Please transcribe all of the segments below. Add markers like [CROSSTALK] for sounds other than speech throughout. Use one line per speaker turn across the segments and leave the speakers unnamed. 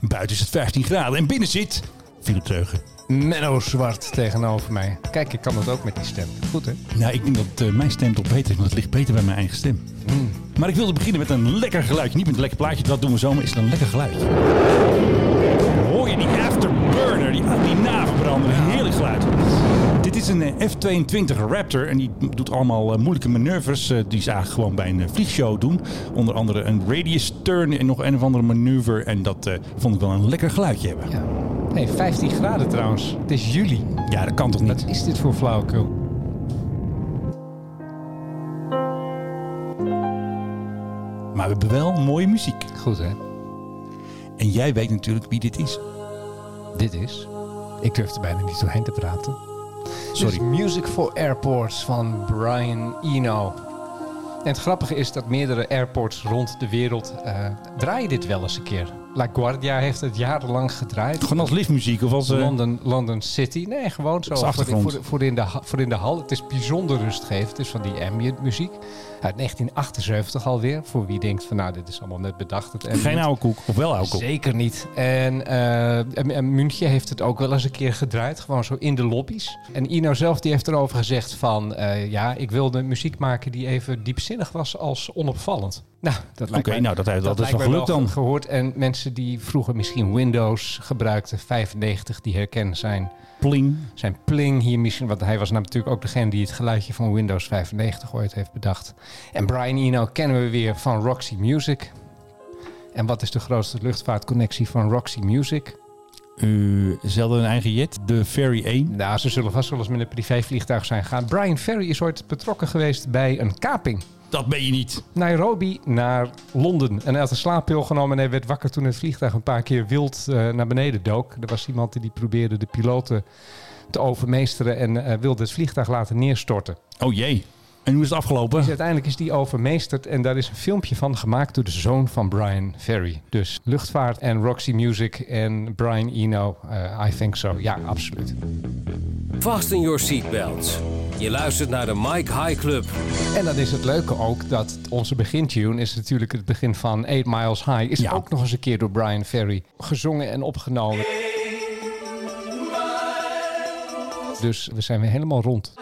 Buiten is het 15 graden en binnen zit Philip Dreugen.
Menno Zwart tegenover mij. Kijk, ik kan dat ook met die stem. Goed, hè?
Nou, ik denk dat eh, mijn stem toch beter is, want het ligt beter bij mijn eigen stem. Maar ik wilde beginnen met een lekker geluidje. Niet met een lekker plaatje, dat doen we zo, maar is het een lekker geluid. Hoor je die afterburner, die, die naverbrander, heerlijk geluid. Dit is een eh, F-22 Raptor en die doet allemaal eh, moeilijke manoeuvres eh, die ze eigenlijk gewoon bij een eh, vliegshow doen. Onder andere een radius turn en nog een of andere manoeuvre en dat eh, vond ik wel een lekker geluidje hebben.
Ja. Nee, 15 graden trouwens. Het is juli.
Ja, dat kan toch niet?
Wat is dit voor flauwekul?
Maar we hebben wel mooie muziek.
Goed, hè?
En jij weet natuurlijk wie dit is.
Dit is... Ik durf er bijna niet doorheen te praten. Dit
Sorry.
is Music for Airports van Brian Eno. En het grappige is dat meerdere airports rond de wereld eh, draaien dit wel eens een keer. La Guardia heeft het jarenlang gedraaid.
Gewoon als liftmuziek of als... eh,
London, London City. Nee, gewoon zo.
Als
Voor,
achtergrond.
voor, voor in de, ha- voor in de hal. Het is bijzonder rustgevend. Het is van die ambient muziek. Uit 1978 alweer. Voor wie denkt van nou, dit is allemaal net bedacht. Het
Geen
ambient.
oude koek, of wel oude koek.
Zeker niet. En, eh en- en München heeft het ook wel eens een keer gedraaid. Gewoon zo in de lobby's. En Ino zelf die heeft erover gezegd van... eh, ja, ik wilde muziek maken die even diepzinnig was als onopvallend. Nou, dat
Oké,
lijkt mij
nou dat, dat, is
lijkt
wel
mij
gelukt dan.
gehoord. En mensen die vroeger misschien Windows gebruikten, 95, die herkennen zijn,
Pling.
zijn pling hier misschien. Want hij was natuurlijk ook degene die het geluidje van Windows 95 ooit heeft bedacht. En Brian Eno kennen we weer van Roxy Music. En wat is de grootste luchtvaartconnectie van Roxy Music?
U zelden een eigen jet. De Ferry 1.
Nou, ze zullen vast wel eens met een privévliegtuig zijn gegaan. Brian Ferry is ooit betrokken geweest bij een kaping.
Dat ben je niet.
Nairobi naar Londen. En hij had een slaappil genomen en hij werd wakker toen het vliegtuig een paar keer wild eh, naar beneden dook. Er was iemand die, die probeerde de piloten te overmeesteren en eh, wilde het vliegtuig laten neerstorten.
Oh jee. En hoe is het
Dus
afgelopen?
uiteindelijk is die overmeesterd en daar is een filmpje van gemaakt door de zoon van Brian Ferry. Dus luchtvaart en Roxy Music en Brian Eno, eh, I think so. Ja, absoluut.
Fasten your seatbelts. Je luistert naar de Mike High Club.
En dan is het leuke ook dat onze begintune is natuurlijk het begin van 8 Miles High. Is
Ja.
ook nog eens een keer door Brian Ferry gezongen en opgenomen. Dus we zijn weer helemaal rond.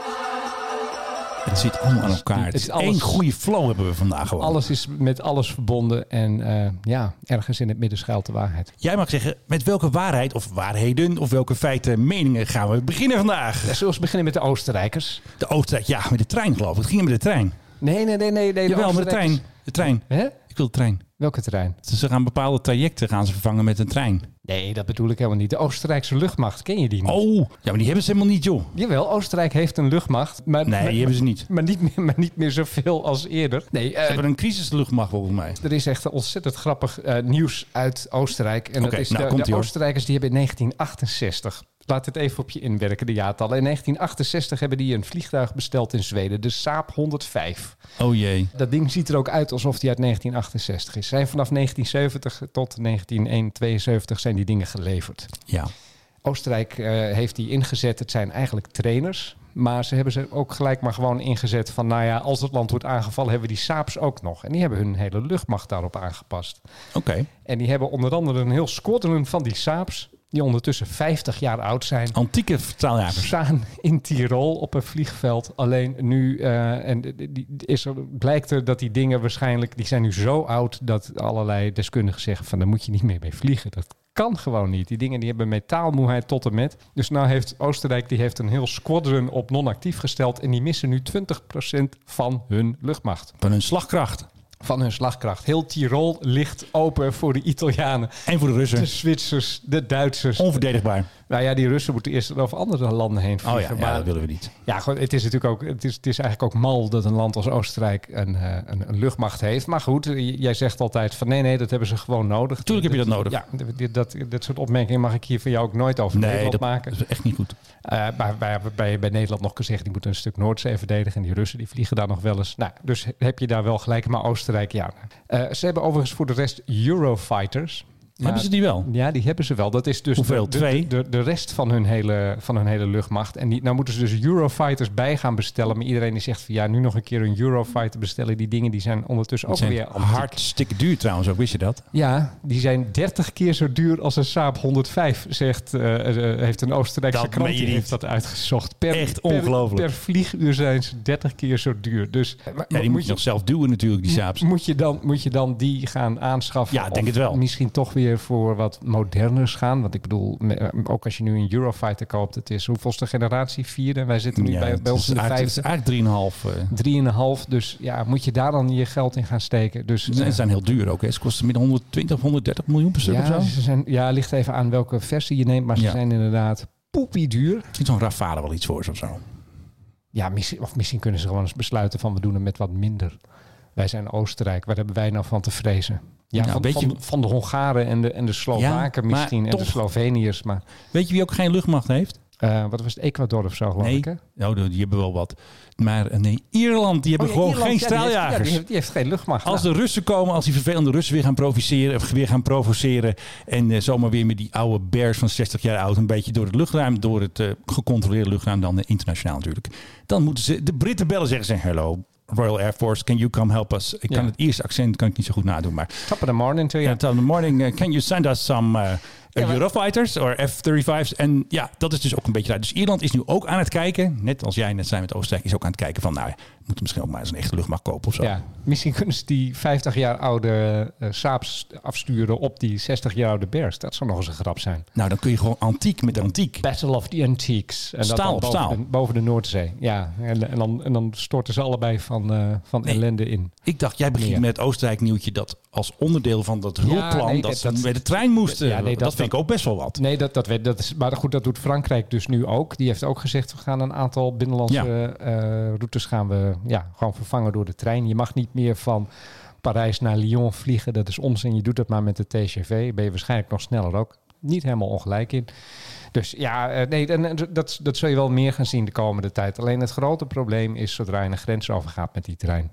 Het zit allemaal aan elkaar. Het
Het is
is
alles-
één goede flow hebben we vandaag gewoon.
Alles is met alles verbonden en eh, ja, ergens in het midden schuilt de waarheid.
Jij mag zeggen met welke waarheid of waarheden of welke feiten en meningen gaan we beginnen vandaag.
Zullen we beginnen met de Oostenrijkers?
De Oostenrijk, ja, met de trein geloof ik. Het ging met de trein.
Nee, nee, nee, nee. nee
Jawel, met de
Oostenrijkers-
trein. De trein.
Hè?
Ik wil de trein.
Welke trein?
Dus Ze gaan bepaalde trajecten gaan ze vervangen met een trein.
Nee, dat bedoel ik helemaal niet. De Oostenrijkse luchtmacht, ken je die niet?
Oh, ja, maar die hebben ze helemaal niet, joh.
Jawel, Oostenrijk heeft een luchtmacht. Maar,
Nee, die
maar,
hebben ze niet. Ze
maar niet meer, maar niet meer zoveel als eerder. Nee, eh,
hebben een crisisluchtmacht volgens mij.
Er is echt ontzettend grappig eh, nieuws uit Oostenrijk. En dat
Oké,
is
nou,
de,
komt-ie,
de
hoor.
Oostenrijkers die hebben in 1968. Laat het even op je inwerken, de jaartallen. In 1968 hebben die een vliegtuig besteld in Zweden, de Saab 105.
Oh jee.
Dat ding ziet er ook uit alsof die uit 1968 is. Zijn vanaf 1970 tot 1972 zijn die dingen geleverd.
Ja.
Oostenrijk eh, heeft die ingezet. Het zijn eigenlijk trainers. Maar ze hebben ze ook gelijk maar gewoon ingezet van... nou ja, als het land wordt aangevallen, hebben we die Saabs ook nog. En die hebben hun hele luchtmacht daarop aangepast.
Oké.
En die hebben onder andere een heel squadron van die Saabs... die ondertussen 50 jaar oud zijn...
Antieke straaljagers.
staan in Tirol op een vliegveld. Alleen nu eh, en d- d- die, is er, blijkt er dat die dingen waarschijnlijk... die zijn nu zo oud dat allerlei deskundigen zeggen... van daar moet je niet meer mee vliegen. Dat kan gewoon niet. Die dingen die hebben metaalmoeheid tot en met. Dus nou heeft Oostenrijk die heeft een heel squadron op non-actief gesteld... en die missen nu 20% van hun luchtmacht.
Van hun slagkracht.
Van hun slagkracht. Heel Tirol ligt open voor de Italianen.
En voor de
De
Russen.
Zwitsers, de Duitsers.
Onverdedigbaar.
Nou ja, die Russen moeten eerst over andere landen heen
Oh
vliegen.
ja, ja,
maar
dat willen we niet.
ja, gewoon, het is natuurlijk ook, het is, het is eigenlijk ook mal dat een land als Oostenrijk een, eh, een, een luchtmacht heeft. Maar goed, eh, j- jij zegt altijd van nee, nee, dat hebben ze gewoon nodig.
Tuurlijk heb je dat nodig.
Ja, d- dit- dat, dat soort opmerkingen mag ik hier van jou ook nooit over
Nee,
Nederland
dat
maken.
is echt niet goed.
Eh, maar wij hebben bij, bij Nederland nog gezegd, die moeten een stuk Noordzee verdedigen. En die Russen die vliegen daar nog wel eens. Nou, dus heb je daar wel gelijk. Maar Oostenrijk, ja. Eh, ze hebben overigens voor de rest Eurofighters.
Hebben ze die wel?
Ja, die hebben ze wel. Dat is dus
Hoeveel?
De,
Twee?
de, de, de rest van hun, hele, van hun hele luchtmacht. En die, nou moeten ze dus Eurofighters bij gaan bestellen. Maar iedereen die zegt van ja, nu nog een keer een Eurofighter bestellen. Die dingen die zijn ondertussen ook
Het zijn
weer antiek.
hartstikke duur trouwens ook, wist je dat?
Ja, die zijn 30 keer zo duur als een Saab 105, zegt, eh, eh, heeft een Oostenrijkse
Dat
krant
meen je
die
niet.
heeft dat uitgezocht. Per,
Echt
per-
ongelooflijk.
Per, vlieguur zijn ze 30 keer zo duur. Dus eh, maar-
Ja, die moet je nog zelf duwen natuurlijk, die Saabs.
moet je, dan, moet je dan die gaan aanschaffen?
Ja, ik denk
Of
het wel.
Misschien toch weer voor wat moderners gaan. Want ik bedoel, me- eh, ook als je nu een Eurofighter koopt, het is hoeveelste generatie? Vierde. En wij zitten nu
Ja,
bij,
het
bij ons
is
in de
eigenlijk-
vijfde.
Het is eigenlijk 3,5. eh.
Drieënhalf. Dus ja, moet je daar dan je geld in gaan steken? Dus
Ze zijn, ze zijn heel duur ook. Hè. Ze kosten midden 120 of 130 miljoen per stuk of zo.
ja, ze zijn, ja, ligt even aan welke versie je neemt. Maar ze
Ja.
zijn inderdaad poepie duur.
Misschien zo'n Rafale wel iets voor ze of zo.
Ja, misschien, of misschien kunnen ze gewoon eens besluiten van we doen het met wat minder. Wij zijn Oostenrijk. Waar hebben wij nou van te vrezen? Ja,
Nou,
van,
weet
van,
je-
de- van de Hongaren en de, en de Slowaken
Ja, maar
misschien. En de
toch-
Sloveniërs. Maar
Weet je wie ook geen luchtmacht heeft?
eh, wat was het? Ecuador of zo geloof
Nee.
ik hè?
Nou, die hebben wel wat. Maar eh, nee, Ierland, die hebben
Oh ja,
gewoon
Ierland,
geen
ja, die heeft- ja,
straaljagers.
die, heeft, die heeft geen luchtmacht.
Als
Nou,
de Russen komen, als die vervelende Russen weer gaan provoceren, of weer gaan provoceren en eh, zomaar weer met die oude bears van 60 jaar oud een beetje door het luchtruim, door het eh, gecontroleerde luchtruim, dan eh, internationaal natuurlijk, dan moeten ze de Britten bellen zeggen ze hello. Royal Air Force, can you come help us? Ik kan
Ja.
het eerste accent kan ik niet zo goed nadoen, maar
top of the morning to you.
ja, in the morning, uh, can you send us some uh,
Ja, maar-
Eurofighters or F-35's? En ja, dat is dus ook een beetje raar. Dus Ierland is nu ook aan het kijken, net als jij net zei met Oostenrijk, is ook aan het kijken van, nou, we moeten misschien ook maar eens een echte luchtmacht kopen of zo.
Ja, misschien kunnen ze die 50 jaar oude eh Saabs afsturen op die 60 jaar oude Bears. Dat zou nog eens een grap zijn.
Nou, dan kun je gewoon antiek met antiek.
Battle of the Antiques. En
Staal
dan
op
boven,
staal.
De, boven de Noordzee. Ja, en, en, dan, en dan storten ze allebei van, eh, van
Nee.
ellende in.
Ik dacht, jij begint
Ja.
met het Oostenrijk nieuwtje dat als onderdeel van dat
nee,
hulpplan
dat-
dat, ze
dat-
met de trein moesten.
Ja, nee,
dat,
dat-
vind ik ook best wel wat.
Nee, dat, dat, weet, dat is, maar goed, dat doet Frankrijk dus nu ook. Die heeft ook gezegd, we gaan een aantal binnenlandse eh, routes gaan we, ja, gewoon vervangen door de trein. Je mag niet meer van Parijs naar Lyon vliegen. Dat is onzin. Je doet dat maar met de TGV. Ben je waarschijnlijk nog sneller ook. Niet helemaal ongelijk in. Dus ja, eh, nee, en, en dat, dat zul je wel meer gaan zien de komende tijd. Alleen het grote probleem is zodra je een grens overgaat met die trein.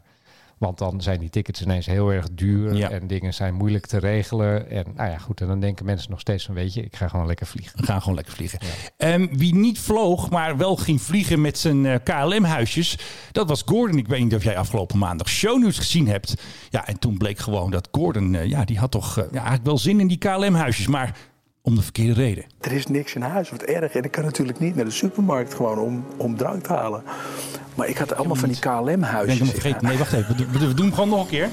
Want dan zijn die tickets ineens heel erg duur
Ja.
en dingen zijn moeilijk te regelen. En nou ja, goed, en dan denken mensen nog steeds van, weet je, ik ga gewoon lekker vliegen.
We gaan gewoon lekker vliegen. En wie niet vloog, maar wel ging vliegen met zijn eh, KLM-huisjes, dat was Gordon. Ik weet niet of jij afgelopen maandag shownieuws gezien hebt. Ja, en toen bleek gewoon dat Gordon, eh, ja, die had toch eh, ja, eigenlijk wel zin in die KLM-huisjes, maar om de verkeerde reden.
Er is niks in huis, wat erg. En ik kan natuurlijk niet naar de supermarkt gewoon om, om drank te halen. Maar ik had allemaal van die
Ik denk
KLM-huisjes.
hem vergeten. Nee, wacht even. We doen, we doen hem gewoon nog een keer.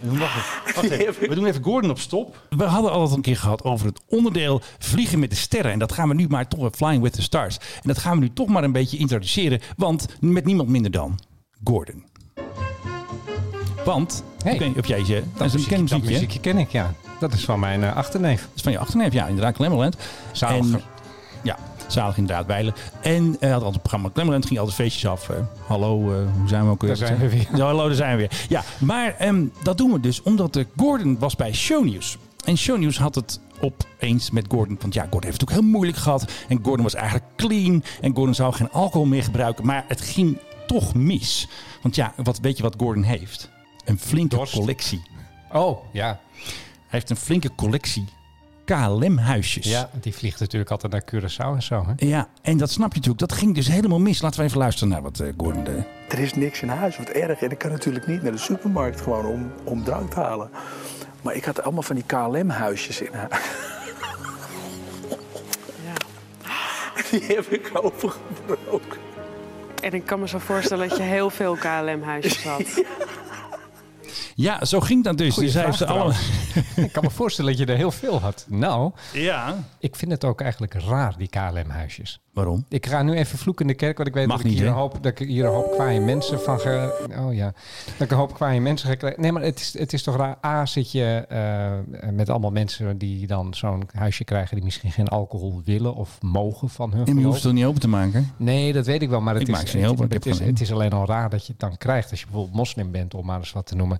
We doen- Wacht even. Wacht even. We doen even Gordon op stop. We hadden al een keer gehad over het onderdeel vliegen met de sterren. En dat gaan we nu maar toch, Flying with the Stars. En dat gaan we nu toch maar een beetje introduceren. Want met niemand minder dan Gordon. Want,
Hey,
ik weet niet of jij eh, je, dat is een bekend muziekje.
dat
hè?
muziekje ken ik, ja. Dat is van mijn eh, achterneef.
Dat is van je achterneef, ja, inderdaad, Glamourland.
Zaliger.
En- ja, zalig inderdaad, Bijlen. En eh, hij had altijd een programma Glamourland, ging altijd feestjes af. eh, hallo, eh, hoe zijn we ook weer?
Daar zijn we weer.
Ja, hallo, daar zijn we weer. Ja, maar ehm, dat doen we dus omdat eh, Gordon was bij Shownieuws. En Shownieuws had het opeens met Gordon. Want ja, Gordon heeft het ook heel moeilijk gehad. En Gordon was eigenlijk clean. En Gordon zou geen alcohol meer gebruiken. Maar het ging toch mis. Want ja, wat, weet je wat Gordon heeft? Een flinke
Dorst.
collectie.
Oh, ja.
Hij heeft een flinke collectie KLM-huisjes.
Ja, die vliegt natuurlijk altijd naar Curaçao en zo, hè.
Ja, en dat snap je natuurlijk. Dat ging dus helemaal mis. Laten we even luisteren naar wat eh, Gordon deed.
Er is niks in huis, wat erg. En ik kan natuurlijk niet naar de supermarkt gewoon om, om drank te halen. Maar ik had allemaal van die KLM-huisjes in huis. Die heb ik opengebroken.
En ik kan me zo voorstellen dat je heel veel KLM-huisjes had.
Ja, zo ging dat dus.
Goeie
dus hij
vraag
heeft ze allemaal...
Ik kan me voorstellen dat je er heel veel had. Nou,
[LAUGHS] Ja.
ik vind het ook eigenlijk raar, die KLM-huisjes.
Waarom?
Ik ga nu even vloeken in de kerk, want ik weet
Mag
dat, ik
niet,
hier
hè?
een hoop, dat ik hier een hoop kwaaie mensen van ge... Oh ja, dat ik een hoop kwaaie mensen ga krijgen. Nee, maar het is, het is toch raar. A, zit je eh, met allemaal mensen die dan zo'n huisje krijgen... die misschien geen alcohol willen of mogen van hun
En je
geloof.
hoeft het niet open te maken.
Nee, dat weet ik wel. Maar het,
Ik
is,
maak ze niet open,
het,
ik heb
is,
geen-
het is alleen al raar dat je het dan krijgt als je bijvoorbeeld moslim bent, om maar eens wat te noemen.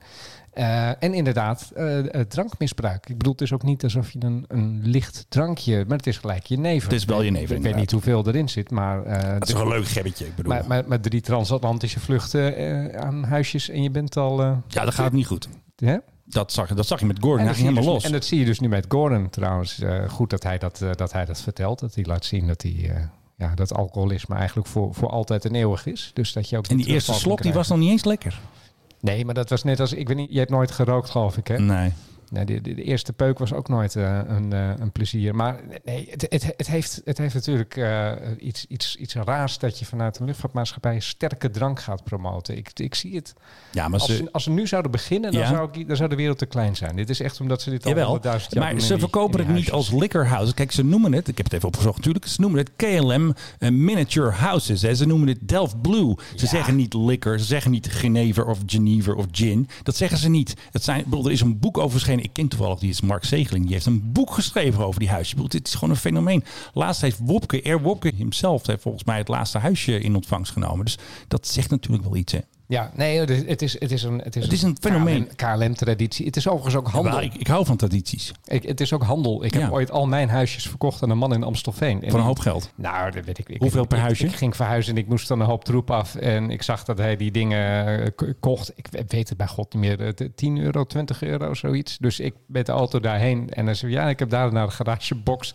Eh, en inderdaad, eh, eh, drankmisbruik. Ik bedoel, het is ook niet alsof je een, een licht drankje, maar het is gelijk je neven.
Het is wel je neven,
Ik weet
inderdaad.
niet hoeveel erin zit, maar,
Dat
eh, de-
is toch een leuk gebbetje, ik bedoel.
maar, maar, maar drie transatlantische vluchten eh, aan huisjes en je bent al. eh,
ja, dat gaat niet goed.
hè?
Dat zag, dat zag je met Gordon.
En
Hij
dat,
ging
zie je dus,
helemaal los.
en dat zie je dus nu met Gordon trouwens. Eh, goed dat hij dat, eh, dat hij dat vertelt. Dat hij laat zien dat, hij, eh, ja, dat alcoholisme eigenlijk voor, voor altijd en eeuwig is. Dus dat je ook
En
niet
die eerste
terugval
slok
kan
die was
krijgen.
nog niet eens lekker.
Nee, maar dat was net als... Ik weet niet, je hebt nooit gerookt geloof ik hè?
Nee.
Nee, de, de, de eerste peuk was ook nooit eh, een, eh, een plezier. Maar nee, het, het, het, heeft, het heeft natuurlijk eh, iets, iets, iets raars dat je vanuit een luchtvaartmaatschappij sterke drank gaat promoten. Ik, ik zie het.
Ja, maar
Als
ze,
ze, als ze nu zouden beginnen, dan,
Ja.
zou ik, dan zou de wereld te klein zijn. Dit is echt omdat ze dit al
Jawel,
honderdduizend jaar
maar
doen in
ze
die-
verkopen het
in die
niet als
huisjes.
liquor house. Kijk, ze noemen het, ik heb het even opgezocht natuurlijk, ze noemen het KLM eh, Miniature Houses. Hè. Ze noemen het Delft Blue. Ze zeggen niet liquor, ze zeggen niet Genever of Genever of gin. Dat zeggen ze niet. Het zijn, ik bedoel, er is een boek over verschenen, ik ken toevallig, die is Mark Zegeling. Die heeft een boek geschreven over die huisjes. Ik bedoel, dit is gewoon een fenomeen. Laatst heeft Wopke, R. Wopke himself, heeft volgens mij het laatste huisje in ontvangst genomen. Dus dat zegt natuurlijk wel iets, hè.
Ja, nee, het is, het is, het is een, het is
Het is een fenomeen.
KLM-traditie. het is overigens ook handel.
Maar Ik, ik hou van tradities,
Ik, het is ook handel. Ik
Ja.
heb ooit al mijn huisjes verkocht aan een man in Amstelveen. En
van een
die-
hoop geld.
Nou, dat weet ik. ik
Hoeveel
ik-
per
ik-
huisje?
Ik ging verhuizen en ik moest dan een hoop troep af. En ik zag dat hij die dingen eh, k- kocht. Ik we- weet het bij god niet meer. eh, t- 10 euro, 20 euro, zoiets. Dus ik met de auto daarheen. En hij zei, ja, ik heb daar naar de garagebox.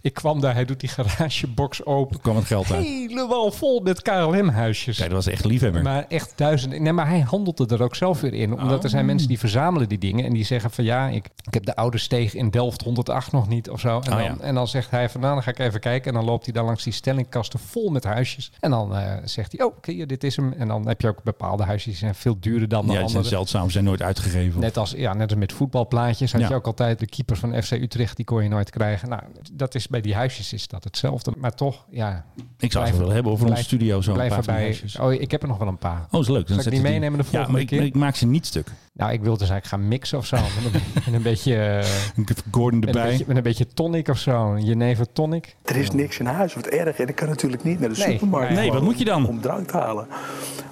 Ik kwam daar, hij doet die garagebox open.
Er kwam het geld uit.
Helemaal vol met KLM-huisjes.
Kijk, dat was echt liefhebber.
Maar echt duizenden. Nee, maar hij handelde er ook zelf weer in. Omdat er
Oh.
zijn mensen die verzamelen die dingen. En die zeggen van ja, ik, ik heb de oude steeg in Delft 108 nog niet of zo. En,
Oh,
dan,
ja.
en dan zegt hij van nou, dan ga ik even kijken. En dan loopt hij dan langs die stellingkasten vol met huisjes. En dan eh, zegt hij, oh, oké, dit is hem. En dan heb je ook bepaalde huisjes die zijn veel duurder dan
ja,
de
die zijn
andere.
zeldzaam, zijn nooit uitgegeven.
Net als, ja, net als met voetbalplaatjes had
Ja.
je ook altijd de keeper van FC Utrecht, die kon je nooit krijgen. Nou, dat is bij die huisjes is dat hetzelfde. Maar toch, ja.
ik zou
blijf-
het wel hebben over onze
blijf-
studio zo'n
Blijf
paar van die
erbij.
huisjes.
Oh, ik heb er nog wel een paar.
Oh, is leuk. Dan
Zal ik
zet
die
je
meenemen de
ja,
volgende
maar ik,
keer?
ik maak ze niet stuk.
Nou, ik wilde dus eigenlijk gaan mixen of zo. Met
[LAUGHS]
een, met een, beetje, eh,
Ik heb Gordon
met een
erbij.
beetje. Met een beetje tonic of zo. Een Jenever tonic.
Er is niks in huis, wat erg. En ik kan natuurlijk niet naar de
Nee,
supermarkt.
nee,
gewoon
wat moet je dan?
Om, om drank te halen.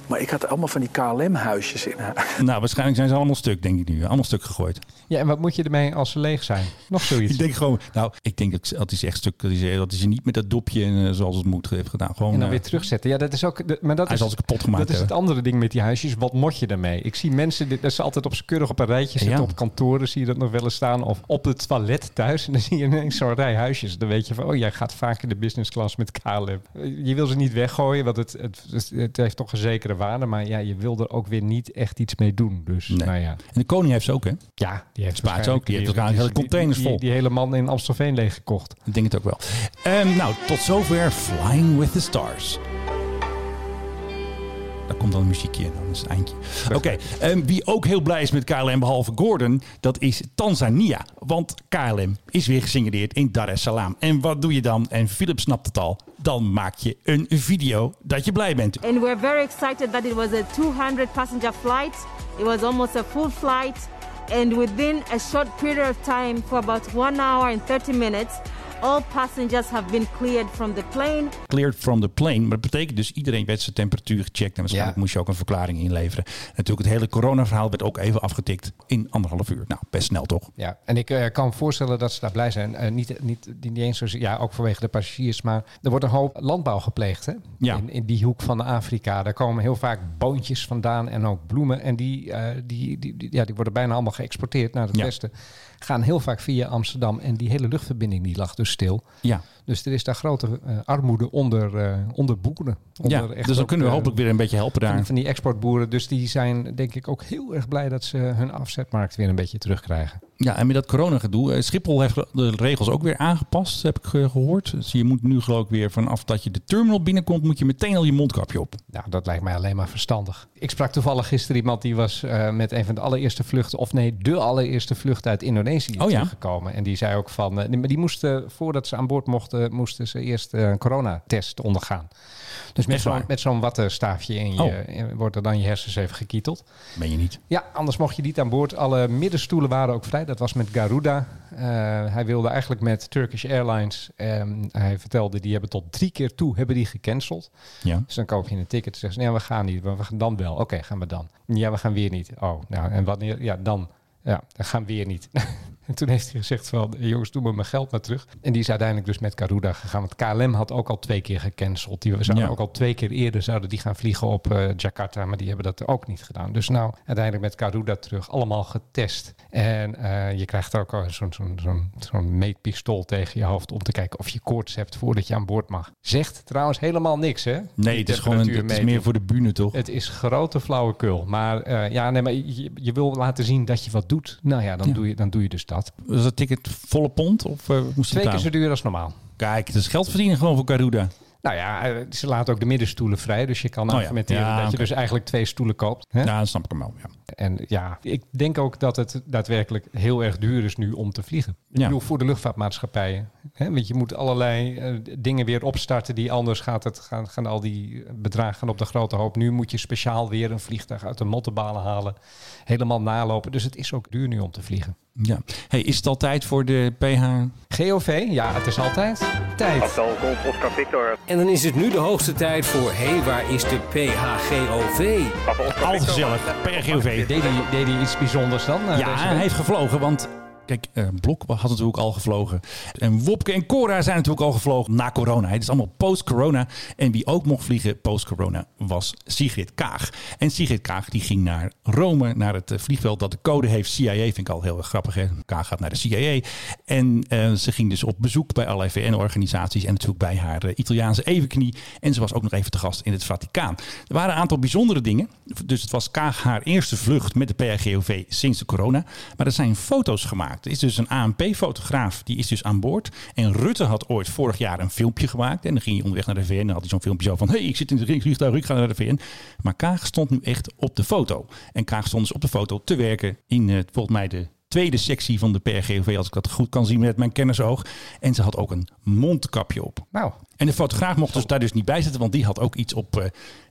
Maar ik had allemaal van die KLM-huisjes in huis. [LAUGHS]
Nou, waarschijnlijk zijn ze allemaal stuk, denk ik nu. Allemaal stuk gegooid.
Ja, en wat moet je ermee als ze leeg zijn? Nog zoiets.
Ik denk gewoon, nou, ik denk dat, dat is echt stuk. Dat is, dat is niet met dat dopje eh, zoals het moet heeft gedaan. Gewoon,
en dan
eh,
weer terugzetten. Ja, dat is ook. dat- Maar dat
hij
is,
zal ze kapot gemaakt
dat is het
hebben.
andere ding met die huisjes. Wat moet je daarmee? Ik zie mensen dit, dat ze altijd op z'n keurig op een rijtje zitten.
Ja.
Op kantoren zie je dat nog wel eens staan. Of op het toilet thuis. En dan [LAUGHS] zie je ineens zo'n rij huisjes. Dan weet je van, oh, jij gaat vaak in de business class met KLM. Je wil ze niet weggooien, want het, het, het, het heeft toch een zekere waarde. Maar ja, je wil er ook weer niet echt iets mee doen. Dus,
Nee.
nou ja.
En de koning heeft ze ook, hè?
Ja, die heeft
Spaart
waarschijnlijk-
ook. Die heeft waarschijnlijk hele
die-
containers
die- die-
vol.
Die, hele man in Amstelveen leeggekocht.
Ik denk het ook wel. Ehm, nou, tot zover Flying with the Stars. Daar komt dan een muziekje in, dan is het eindje. Oké, ehm, wie ook heel blij is met KLM, behalve Gordon, dat is Tanzania. Want KLM is weer gesignaleerd in Dar es Salaam. En wat doe je dan? En Philip snapt het al. Dan maak je een video dat je blij bent.
and we're very excited that it was a 200 passenger flight. It was almost a full flight, and within a short period of time, for about one hour and 30 minutes, all passengers have been cleared from the plane
Cleared from the plane. Maar dat betekent dus iedereen werd zijn temperatuur gecheckt. En waarschijnlijk
Ja.
moest je ook een verklaring inleveren. Natuurlijk, het hele coronaverhaal werd ook even afgetikt in anderhalf uur. Nou, best snel toch?
Ja, en ik eh, kan me voorstellen dat ze daar blij zijn. Eh, niet, niet, niet eens zo, ja, ook vanwege de passagiers. Maar er wordt een hoop landbouw gepleegd. Hè?
Ja.
In, in die hoek van Afrika. Daar komen heel vaak boontjes vandaan en ook bloemen. En die, eh, die, die, die- ja, die worden bijna allemaal geëxporteerd naar het
Ja.
westen. Gaan heel vaak via Amsterdam. En die hele luchtverbinding die lag dus stil.
Ja.
Dus er is daar grote eh, armoede onder, eh, onder boeren. Onder
Ja,
echt
dus dan
ook,
kunnen we
eh,
hopelijk weer een beetje helpen daar.
Van, van die exportboeren. Dus die zijn denk ik ook heel erg blij dat ze hun afzetmarkt weer een beetje terugkrijgen.
Ja, en met dat coronagedoe. eh, Schiphol heeft de regels ook weer aangepast, heb ik eh, gehoord. Dus je moet nu geloof ik weer vanaf dat je de terminal binnenkomt, moet je meteen al je mondkapje op.
Nou, dat lijkt mij alleen maar verstandig. Ik sprak toevallig gisteren iemand die was eh, met een van de allereerste vluchten, of nee, de allereerste vlucht uit Indonesië
Oh ja?
teruggekomen. En die zei ook van, eh, die- maar die moesten, voordat ze aan boord mochten, moesten ze eerst eh, een coronatest ondergaan. Dus met
Echt
zo'n
waar?
met zo'n wattenstaafje in je,
Oh.
eh, wordt er dan je hersens even gekieteld.
Ben je niet?
Ja, anders mocht je niet aan boord. Alle middenstoelen waren ook vrij. Dat was met Garuda. Eh, hij wilde eigenlijk met Turkish Airlines. ehm, hij vertelde, die hebben tot drie keer toe hebben die gecanceld.
Ja.
Dus dan koop je een ticket. en zeggen ze, nee, we gaan niet. Maar we gaan dan wel. Oké, gaan we dan. Ja, we gaan weer niet. [LAUGHS] Oh, nou, en wanneer? Ja, dan. Ja, dan gaan we weer niet. En toen heeft hij gezegd van, "Hey, jongens, doe me mijn geld maar terug. En die is uiteindelijk dus met Garuda gegaan. Want KLM had ook al twee keer gecanceld. Die zouden
Ja.
ook al twee keer eerder zouden die gaan vliegen op eh, Jakarta. Maar die hebben dat ook niet gedaan. Dus nou, uiteindelijk met Garuda terug. Allemaal getest. En eh, je krijgt ook al zo'n zo'n zo'n zo'n meetpistool tegen je hoofd. Om te kijken of je koorts hebt voordat je aan boord mag. Zegt trouwens helemaal niks hè.
Nee,
Die
het is gewoon een- het is
temperatuurmeting.
meer voor de bühne, toch?
Het is grote flauwekul. Maar, eh, ja, nee, maar je, je wil laten zien dat je wat doet. Nou ja, dan,
Ja.
Doe, je, dan doe je dus dat.
Was dat ticket volle pond? Of eh, moest
Twee
het
keer zo duur als normaal.
Kijk, het is geld verdienen gewoon voor Garuda.
Nou ja, eh, ze laten ook de middenstoelen vrij. Dus je kan
Oh ja.
argumenteren
Ja,
dat
oké. Nou,
je dus eigenlijk twee stoelen koopt. Hè?
Ja, dat snap ik hem wel. Ja.
En ja, ik denk ook dat het daadwerkelijk heel erg duur is nu om te vliegen. Ik
Ja.
bedoel, voor de luchtvaartmaatschappijen. Hè? Want je moet allerlei eh, dingen weer opstarten die anders gaat het, gaan, gaan al die bedragen op de grote hoop. Nu moet je speciaal weer een vliegtuig uit de mottenbalen halen. Helemaal nalopen. Dus het is ook duur nu om te vliegen.
Ja. Hey, is het al tijd voor de PH?
GOV, ja, het is altijd tijd.
En dan is het nu de hoogste tijd voor... Hé, hey, waar is de PHGOV?
Altijd gezellig. PHGOV.
Deed hij, deed hij iets bijzonders dan? eh,
Ja,
deze
hij
week?
heeft gevlogen, want... Kijk, eh, Blok had natuurlijk ook al gevlogen. En Wopke en Cora zijn natuurlijk al gevlogen na corona. Het is allemaal post-corona. En wie ook mocht vliegen post-corona was Sigrid Kaag. En Sigrid Kaag die ging naar Rome, naar het eh, vliegveld dat de code heeft. CIA vind ik al heel erg grappig. Hè? Kaag gaat naar de CIA. En eh, ze ging dus op bezoek bij allerlei VN-organisaties. En natuurlijk bij haar eh, Italiaanse evenknie. En ze was ook nog even te gast in het Vaticaan. Er waren een aantal bijzondere dingen. Dus het was Kaag haar eerste vlucht met de PRGOV sinds de corona. Maar er zijn foto's gemaakt. Er is dus een ANP-fotograaf, die is dus aan boord. En Rutte had ooit vorig jaar een filmpje gemaakt. En dan ging hij onderweg naar de VN. En dan had hij zo'n filmpje zo van... hey, ik zit in het vliegtuig, ik ga naar de VN. Maar Kaag stond nu echt op de foto. En Kaag stond dus op de foto te werken in, eh, volgens mij, de tweede sectie van de PRGOV... als ik dat goed kan zien met mijn kennersoog. En ze had ook een mondkapje op.
Nou,
En de fotograaf mocht dus daar dus niet bij zitten, want die had ook iets op eh,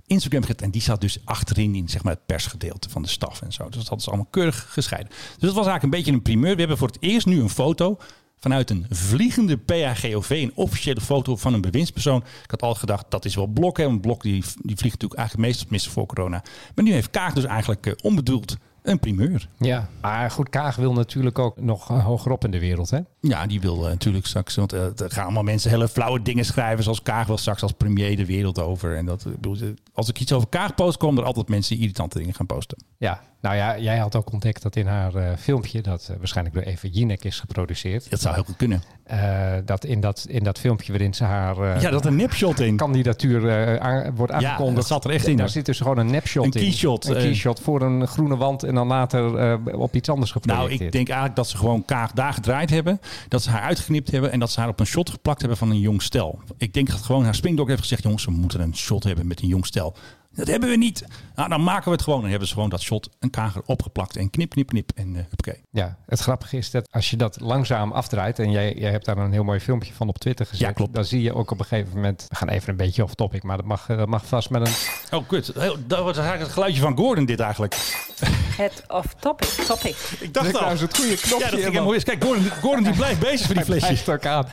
Instagram gezet. En die zat dus achterin in zeg maar, het persgedeelte van de staf en zo. Dus dat hadden ze allemaal keurig gescheiden. Dus dat was eigenlijk een beetje een primeur. We hebben voor het eerst nu een foto vanuit een vliegende PHGOV. Een officiële foto van een bewindspersoon. Ik had al gedacht, dat is wel Blok. Hè? Want Blok die, die vliegt natuurlijk eigenlijk meestal tenminste voor corona. Maar nu heeft Kaag dus eigenlijk eh, onbedoeld een primeur.
ja. Maar goed, Kaag wil natuurlijk ook nog eh, hogerop in de wereld, hè?
Ja, die wil eh, natuurlijk straks. Want eh, er gaan allemaal mensen hele flauwe dingen schrijven. Zoals Kaag wil straks als premier de wereld over. En dat, ik bedoel, eh, als ik iets over Kaag post, komen er altijd mensen die irritante dingen gaan posten.
Ja, nou ja, jij had ook ontdekt dat in haar eh, filmpje, dat eh, waarschijnlijk door Eva Jinek is geproduceerd,
Dat zou heel goed kunnen.
eh, dat, in dat in dat filmpje waarin ze haar eh,
ja, dat een nipshot in.
kandidatuur eh, aan- wordt aangekondigd.
dat zat er echt in,
Daar
hoor.
zit dus gewoon een nepshot
Een
in.
keyshot,
Een
eh.
keyshot voor een groene wand en dan later eh, op iets anders
Nou,
geprojecteerd.
ik denk eigenlijk dat ze gewoon Kaag daar gedraaid hebben. Dat ze haar uitgeknipt hebben. En dat ze haar op een shot geplakt hebben van een jong stel. Ik denk dat gewoon haar spindokter heeft gezegd: jongens, we moeten een shot hebben met een jong stel. Dat hebben we niet. Nou, dan maken we het gewoon. En hebben ze gewoon dat shot een Kaag erop geplakt. En knip, knip, knip. En eh huppakee.
Ja, het grappige is dat als je dat langzaam afdraait... en jij, jij hebt daar een heel mooi filmpje van op Twitter gezet...
Ja, klopt.
dan zie je ook op een gegeven moment... We gaan even een beetje off-topic, maar dat mag, eh, dat mag vast met een...
Oh, kut. Heel- dat was eigenlijk het geluidje van Gordon, dit eigenlijk.
[LAUGHS] Het off-topic. Topic.
Ik dacht
Druk
al.
nou eens het goede knopje,
Ja, dat ging
man.
helemaal mis. Kijk, Gordon, Gordon die blijft bezig voor die flesjes.
[LAUGHS] Hij ook aan.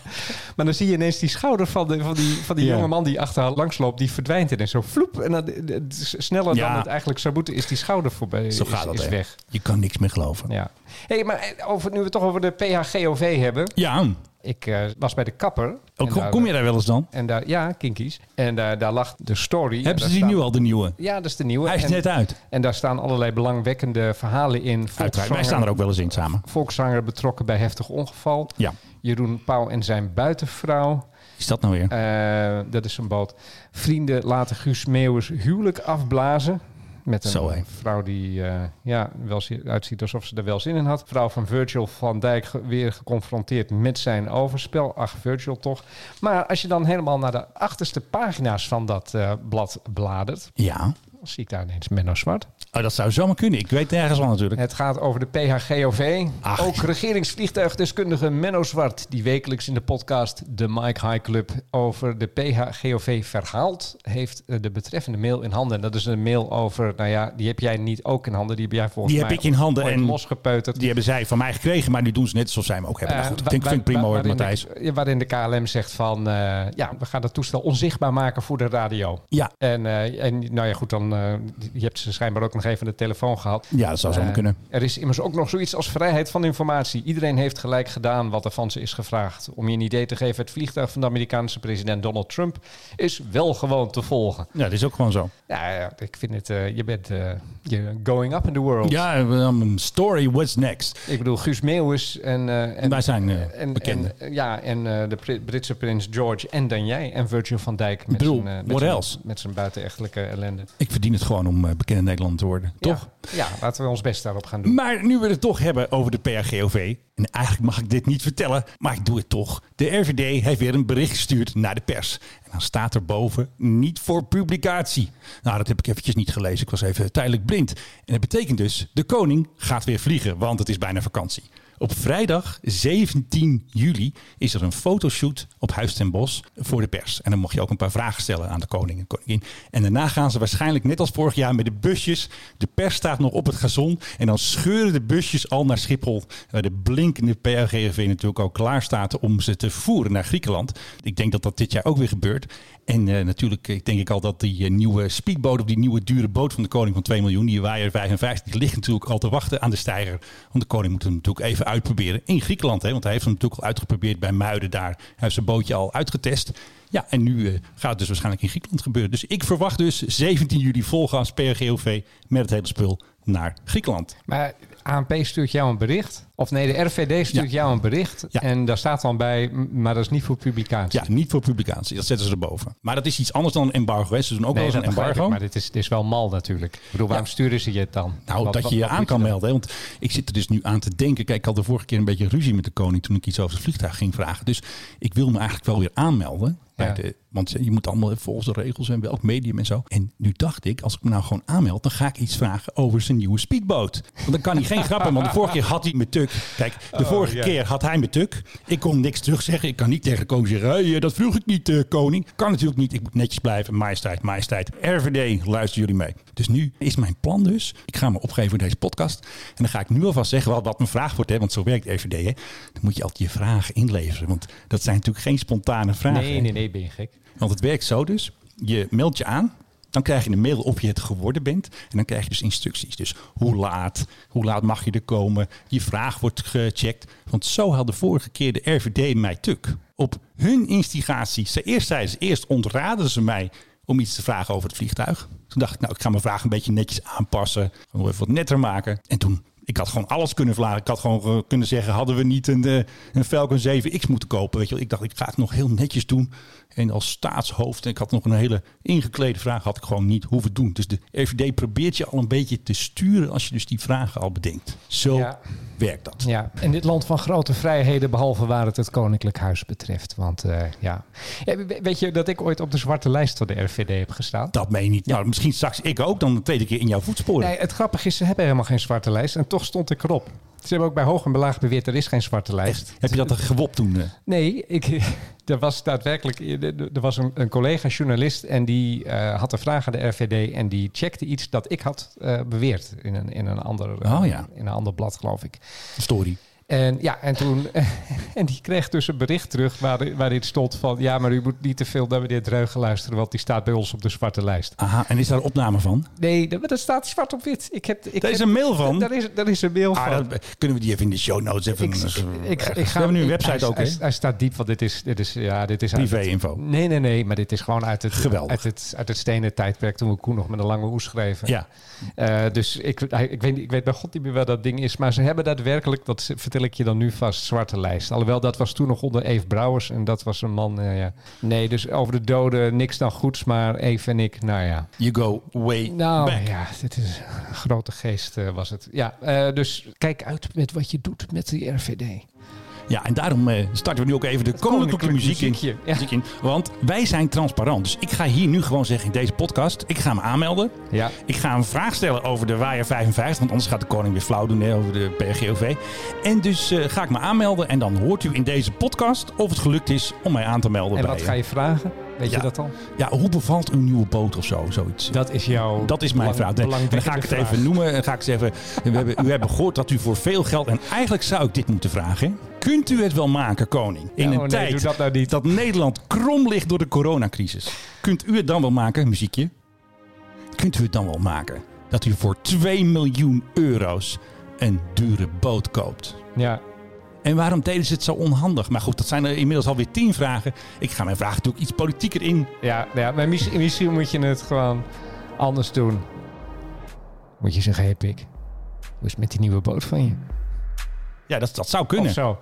Maar dan zie je ineens die schouder van, de, van die, van die
Ja.
jonge man die achter haar langs loopt... die verdwijnt ineens zo vloep. En dan, eh, eh, sneller
Ja.
dan het eigenlijk zou moeten is die schouder voorbij.
Zo
is,
gaat dat,
is
hè.
weg.
Je kan niks meer geloven.
Ja. hey, maar eh, over, nu we het toch over de PHGOV hebben.
Ja.
Ik eh, was bij de kapper.
Ook,
En
Oh, kom,
daar-
kom je daar wel eens dan?
En daar, ja, kinkies. En daar, daar lag de story.
Hebben
En daar
ze die
staat-
nu al, de nieuwe?
Ja, dat is de nieuwe.
Hij is
en,
net uit.
en daar staan allerlei belangwekkende verhalen in.
Uiteraard. Wij
Volkszanger-
staan er ook wel eens in samen.
Volkszanger betrokken bij heftig ongeval.
Ja.
Jeroen Pauw en zijn buitenvrouw.
Is dat nou weer?
Eh, dat is een boot. Vrienden laten Guus Meeuwers huwelijk afblazen. Met een
Zo, hè.
vrouw die eh, ja, wel zi- uitziet alsof ze er wel zin in had. Vrouw van Virgil van Dijk ge- weer geconfronteerd met zijn overspel. Ach, Virgil toch. Maar als je dan helemaal naar de achterste pagina's van dat eh, blad bladert...
Ja.
dan zie ik daar ineens Menno Zwart.
Oh, dat zou zomaar kunnen. Ik weet nergens van natuurlijk.
Het gaat over de PHGOV.
Ach.
Ook regeringsvliegtuigdeskundige Menno Zwart, die wekelijks in de podcast de Mike High Club over de PHGOV verhaalt, heeft eh, de betreffende mail in handen. En dat is een mail over, nou ja, die heb jij niet ook in handen. Die heb jij volgens
Die
mij
heb ik in handen
ooit
en-
losgepeuterd.
Die hebben zij van mij gekregen, maar nu doen ze net alsof zij hem ook hebben. Nou goed,
Eh,
ik denk,
wa-
vind het prima
wa-
hoor,
waarin de-
Matthijs.
ja, waarin de KLM zegt van, eh, ja, we gaan dat toestel onzichtbaar maken voor de radio.
Ja.
En, eh, en nou ja, goed, dan eh, je hebt ze schijnbaar ook nog even aan de telefoon gehad.
Ja, dat zou zo
Eh,
kunnen.
Er is immers ook nog zoiets als vrijheid van informatie. Iedereen heeft gelijk gedaan wat er van ze is gevraagd. Om je een idee te geven, het vliegtuig van de Amerikaanse president Donald Trump is wel gewoon te volgen.
Ja, dat is ook gewoon zo.
Ja, ja, ik vind het, eh, je bent eh, je going up in the world.
Ja, um, story, what's next?
Ik bedoel, Guus Meeuwis en... eh, en
Wij zijn eh,
en,
bekenden.
en, eh, ja, en eh, de Pri- Britse prins George en dan jij en Virgil van Dijk met
bedoel,
zijn, eh, met
what
zijn-
else?
met zijn buitenechtelijke ellende.
ik verdien het gewoon om eh, bekende Nederlander te worden, toch?
Ja, ja, laten we ons best daarop gaan doen.
Maar nu we het toch hebben over de PRGOV. En eigenlijk mag ik dit niet vertellen, maar ik doe het toch. De RVD heeft weer een bericht gestuurd naar de pers. En dan staat er boven niet voor publicatie. Nou, dat heb ik eventjes niet gelezen. Ik was even tijdelijk blind. En dat betekent dus, de koning gaat weer vliegen, want het is bijna vakantie. Op vrijdag 17 juli is er een fotoshoot op Huis ten Bos voor de pers. En dan mocht je ook een paar vragen stellen aan de koning en koningin. En daarna gaan ze waarschijnlijk net als vorig jaar met de busjes. De pers staat nog op het gazon. En dan scheuren de busjes al naar Schiphol. Waar de blinkende PRGV natuurlijk al klaar staat om ze te voeren naar Griekenland. Ik denk dat dat dit jaar ook weer gebeurt. En eh, natuurlijk eh, denk ik al dat die eh, nieuwe speedboot... of die nieuwe dure boot van de koning van 2 miljoen... die Waaier 55, die ligt natuurlijk al te wachten aan de steiger. Want de koning moet hem natuurlijk even uitproberen in Griekenland. Hè, want hij heeft hem natuurlijk al uitgeprobeerd bij Muiden daar. Hij heeft zijn bootje al uitgetest. Ja, en nu eh, gaat het dus waarschijnlijk in Griekenland gebeuren. Dus ik verwacht dus 17 juli volgas PRGOV met het hele spul naar Griekenland.
Maar ANP stuurt jou een bericht. Of nee, de RVD stuurt
Ja.
jou een bericht.
Ja.
En daar staat dan bij, m- maar dat is niet voor publicatie.
Ja, niet voor publicatie. Dat zetten ze erboven. Maar dat is iets anders dan een embargo. Hè. Ze doen ook wel
Nee,
eens
dat
een
begrijp
embargo.
ik, maar dit is, dit is wel mal natuurlijk. Ik bedoel, waarom sturen ze je het dan?
Nou,
Wat-
dat
wat-
je je
wat
aan
moet
kan
dan?
melden. hè. Want ik zit er dus nu aan te denken. Kijk, ik had de vorige keer een beetje ruzie met de koning toen ik iets over het vliegtuig ging vragen. Dus ik wil me eigenlijk wel weer aanmelden. Bij
Ja.
de, want je moet allemaal volgens de regels en welk medium en zo. En nu dacht ik, als ik me nou gewoon aanmeld, dan ga ik iets vragen over zijn nieuwe speedboot. Want dan kan hij geen grappen, want de vorige keer had hij me tuk. Kijk, de vorige
ja.
keer had hij me tuk. Ik kon niks terugzeggen. Ik kan niet tegen de koning zeggen, hey, eh, dat vroeg ik niet, eh, koning. Kan natuurlijk niet. Ik moet netjes blijven. Majesteit, majesteit. RVD, luister jullie mee. Dus nu is mijn plan dus, ik ga me opgeven voor deze podcast. En dan ga ik nu alvast zeggen wat, wat mijn vraag wordt, hè, want zo werkt RVD. Hè. Dan moet je altijd je vragen inleveren, want dat zijn natuurlijk geen spontane vragen.
Nee, nee, nee, ben je gek.
Want het werkt zo dus. Je meldt je aan. Dan krijg je een mail of je het geworden bent. En dan krijg je dus instructies. Dus hoe laat? Hoe laat mag je er komen? Je vraag wordt gecheckt. Want zo had de vorige keer de RVD mij tuk. Op hun instigatie. Ze eerst zeiden ze, eerst ontraden ze mij om iets te vragen over het vliegtuig. Toen dacht ik, nou, ik ga mijn vraag een beetje netjes aanpassen. Gewoon even wat netter maken. En toen, ik had gewoon alles kunnen vragen. Ik had gewoon eh, kunnen zeggen, hadden we niet een, eh, een Falcon 7X moeten kopen? Weet je wel? Ik dacht, ik ga het nog heel netjes doen. En als staatshoofd, en ik had nog een hele ingeklede vraag, had ik gewoon niet hoeven doen. Dus de RVD probeert je al een beetje te sturen als je dus die vragen al bedenkt. Zo
Ja.
werkt dat.
Ja, in dit land van grote vrijheden, behalve waar het het Koninklijk Huis betreft. Want eh, ja. Ja, we- Weet je dat ik ooit op de zwarte lijst van de RVD heb gestaan?
Dat meen je niet. Nou, misschien straks ik ook dan de tweede keer in jouw voetsporen.
Nee, het grappige is, ze hebben helemaal geen zwarte lijst. En toch stond ik erop. Ze hebben ook bij hoog en belaag beweerd, er is geen zwarte lijst.
Heb je dat er gewopt toen? eh?
Nee, ik, [LAUGHS] er was daadwerkelijk eh, er was een, een collega journalist en die eh, had een vraag aan de RVD en die checkte iets dat ik had eh, beweerd in een, in, een ander, eh,
Oh ja.
in een ander blad, geloof ik.
Story.
En ja, en toen. [LAUGHS] En die kreeg dus een bericht terug waar, waarin stond van. Ja, maar u moet niet te veel naar meneer Dreugen luisteren, want die staat bij ons op de zwarte lijst.
Aha, en is daar opname van?
Nee, dat, maar dat staat zwart op wit. Ik heb, ik
Daar is
heb-
een mail van.
Daar is, daar is een mail
Ah,
van.
dat- kunnen we die even in de show notes even... eh,
Ik- ik- ik
we
ga-
hebben nu een
ik-
website
hij-
ook,
hij,
hè?
hij staat diep, want dit is, dit is, ja, dit is uit het-
Privé-info.
Nee, nee, nee, maar dit is gewoon uit het,
Geweldig.
Uit het, uit het stenen tijdperk toen we Koen nog met een lange hoes schreven.
Ja.
Eh, dus ik, hij- ik, weet, niet- ik weet bij god niet meer waar dat ding is. Maar ze hebben daadwerkelijk, dat z- vertel ik je dan nu vast, zwarte lijst. Alhoewel, dat was toen nog onder Eve Brouwers. En dat was een man, eh, ja. Nee, dus over de doden niks dan goeds. Maar Eve en ik, nou ja.
You go way
Nou
back.
ja, dit is een grote geest eh, was het. Ja, eh, dus kijk uit met wat je doet met die RVD.
Ja, en daarom eh, starten we nu ook even de koninklijke muziek in.
muziekje, ja.
muziek in. Want wij zijn transparant. Dus ik ga hier nu gewoon zeggen in deze podcast... ik ga me aanmelden.
Ja.
Ik ga een vraag stellen over de Waaier 55. Want anders gaat de koning weer flauw doen hè, over de PRGOV. En dus eh, ga ik me aanmelden. En dan hoort u in deze podcast of het gelukt is om mij aan te melden.
En
bij,
wat ga je vragen? Weet
Ja.
je dat al?
Ja, hoe bevalt uw nieuwe boot of zo? Zoiets.
Dat is jouw
Dat is mijn vraag. Dan
belang,
ga ik het even noemen. Dan ga ik het even. We hebben, u hebben gehoord dat u voor veel geld. En eigenlijk zou ik dit moeten vragen. hè. Kunt u het wel maken, koning? In
Ja,
een
oh nee,
tijd
doe dat nou niet.
dat Nederland krom ligt door de coronacrisis. Kunt u het dan wel maken, muziekje? Kunt u het dan wel maken dat u voor 2 miljoen euro's een dure boot koopt?
Ja,
En waarom deden ze het zo onhandig? Maar goed, dat zijn er inmiddels alweer tien vragen. Ik ga mijn vraag natuurlijk iets politieker in.
ja, ja maar misschien, misschien moet je het gewoon anders doen. Moet je zeggen, hé hey, pik, hoe is het met die nieuwe boot van je?
Ja, dat, dat zou
Of
kunnen.
zo.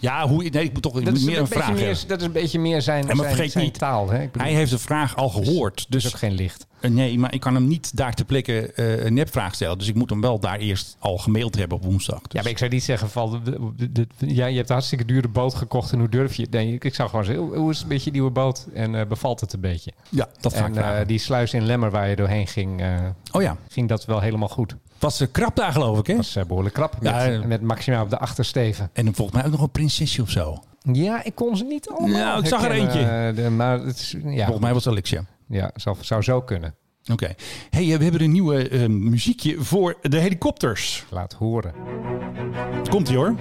Ja, hoe, nee, ik moet toch ik
Dat
moet
is,
meer
een
een
beetje
vraag
meer,
hebben.
dat is een beetje meer zijn,
En maar
zijn,
vergeet
zijn
niet,
taal. Hè? Ik bedoel,
Hij heeft de vraag al gehoord.
er is
Dus
ook geen licht.
eh, nee, maar ik kan hem niet daar te plekken eh, een nepvraag stellen. Dus ik moet hem wel daar eerst al gemaild hebben op woensdag. Dus-
Ja, maar ik zou niet zeggen van, de- de- de- de- ja, je hebt een hartstikke dure boot gekocht en hoe durf je? Nee, ik, ik zou gewoon zeggen, hoe- hoe is het met je nieuwe boot en eh, bevalt het een beetje?
ja, dat ga ik
En eh,
vragen.
die sluis in Lemmer waar je doorheen ging, eh,
Oh ja,
ging dat wel helemaal goed.
was eh, krap daar geloof ik hè?
Dat is eh, behoorlijk krap, met,
Ja, eh.
met maximaal op de achtersteven.
En dan volgens mij ook nog een prinsesje of zo.
Ja, ik kon ze niet allemaal
Nou, ik zag er
herkennen, eh, de- maar het is, ja,
Volgens mij was dat Alexia.
ja zou, zou zo kunnen.
Oké. Hey, eh, we hebben een nieuwe eh, muziekje voor de helikopters.
Laat horen.
Komt ie hoor.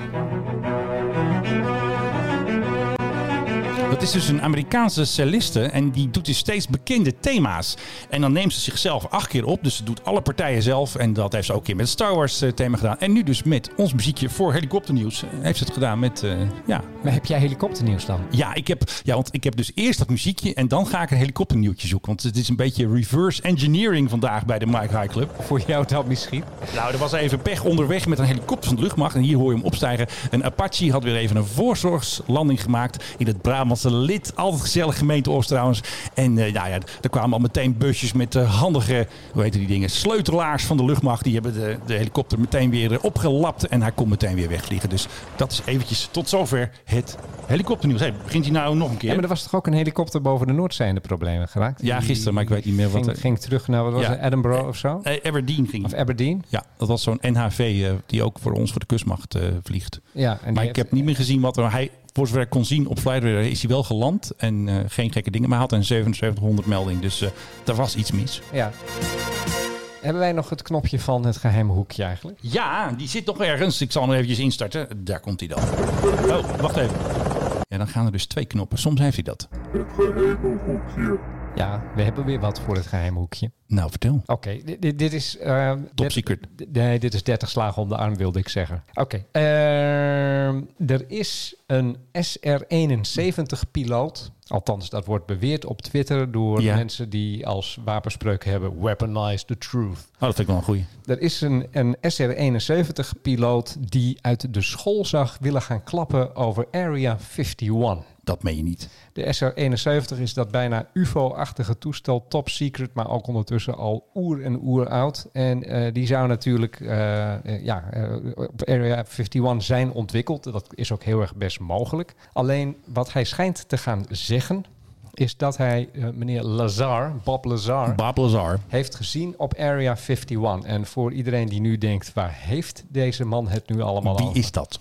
Dat is dus een Amerikaanse celliste en die doet dus steeds bekende thema's. En dan neemt ze zichzelf acht keer op, dus ze doet alle partijen zelf. En dat heeft ze ook een keer met het Star Wars eh, thema gedaan. En nu dus met ons muziekje voor helikopternieuws eh, heeft ze het gedaan met, eh, ja...
Maar heb jij
[LAUGHS]
helikopternieuws dan?
Ja, ik heb, ja, want ik heb dus eerst dat muziekje en dan ga ik een helikopternieuwtje zoeken. Want het is een beetje reverse engineering vandaag bij de Mike High Club.
Voor jou dan misschien?
Nou, er was even pech onderweg met een helikopter van de luchtmacht. En hier hoor je hem opstijgen. Een Apache had weer even een voorzorgslanding gemaakt in het Brabantse lid. Altijd gezellig gemeenteoord trouwens. En eh, nou ja, er kwamen al meteen busjes met eh, handige, hoe heet die dingen, sleutelaars van de luchtmacht. Die hebben de, de helikopter meteen weer eh, opgelapt en hij kon meteen weer wegvliegen. Dus dat is eventjes tot zover het helikopternieuws. Hey, begint hij nou nog een keer?
Ja, maar er was toch ook een helikopter boven de Noordzee in de problemen geraakt?
Ja,
Die
gisteren, maar ik weet niet meer wat
Ging,
er-
ging terug naar, wat was
Ja.
het, Edinburgh of zo?
Eh, Aberdeen ging.
Of Aberdeen?
Ja, dat was zo'n NHV eh, die ook voor ons voor de kustmacht eh, vliegt.
Ja, en
Maar ik heb niet meer gezien wat er, hij voor zover ik kon zien op Flightradar is hij wel geland en eh, geen gekke dingen. Maar hij had een 7700 melding, dus eh er was iets mis.
Ja. Hebben wij nog het knopje van het geheime hoekje eigenlijk?
Ja, die zit nog ergens. Ik zal hem eventjes instarten. Daar komt hij dan. Oh, wacht even. Ja, dan gaan er dus twee knoppen. Soms heeft hij dat.
Ja, we hebben weer wat voor het geheime hoekje.
Nou, vertel.
Oké, dit, dit- dit is... eh,
Top
dit-
secret.
d- Nee, dit is 30 slagen om de arm, wilde ik zeggen. Oké, ehm, er is een SR-71-piloot. Althans, dat wordt beweerd op Twitter door
Ja.
mensen die als wapenspreuk hebben... Weaponize the truth.
Oh, dat vind ik wel een goeie.
Er is een, een SR-71-piloot die uit de school zag willen gaan klappen over Area 51.
Dat meen je niet.
De SR-71 is dat bijna UFO-achtige toestel, top secret, maar ook ondertussen al oer en oer oud. En eh, die zou natuurlijk eh, eh, ja, eh, op Area 51 zijn ontwikkeld. Dat is ook heel erg best mogelijk. Alleen wat hij schijnt te gaan zeggen, is dat hij eh, meneer Lazar, Bob Lazar,
Bob Lazar.
heeft gezien op Area 51. En voor iedereen die nu denkt, waar heeft deze man het nu allemaal
Wie
over?
is dat?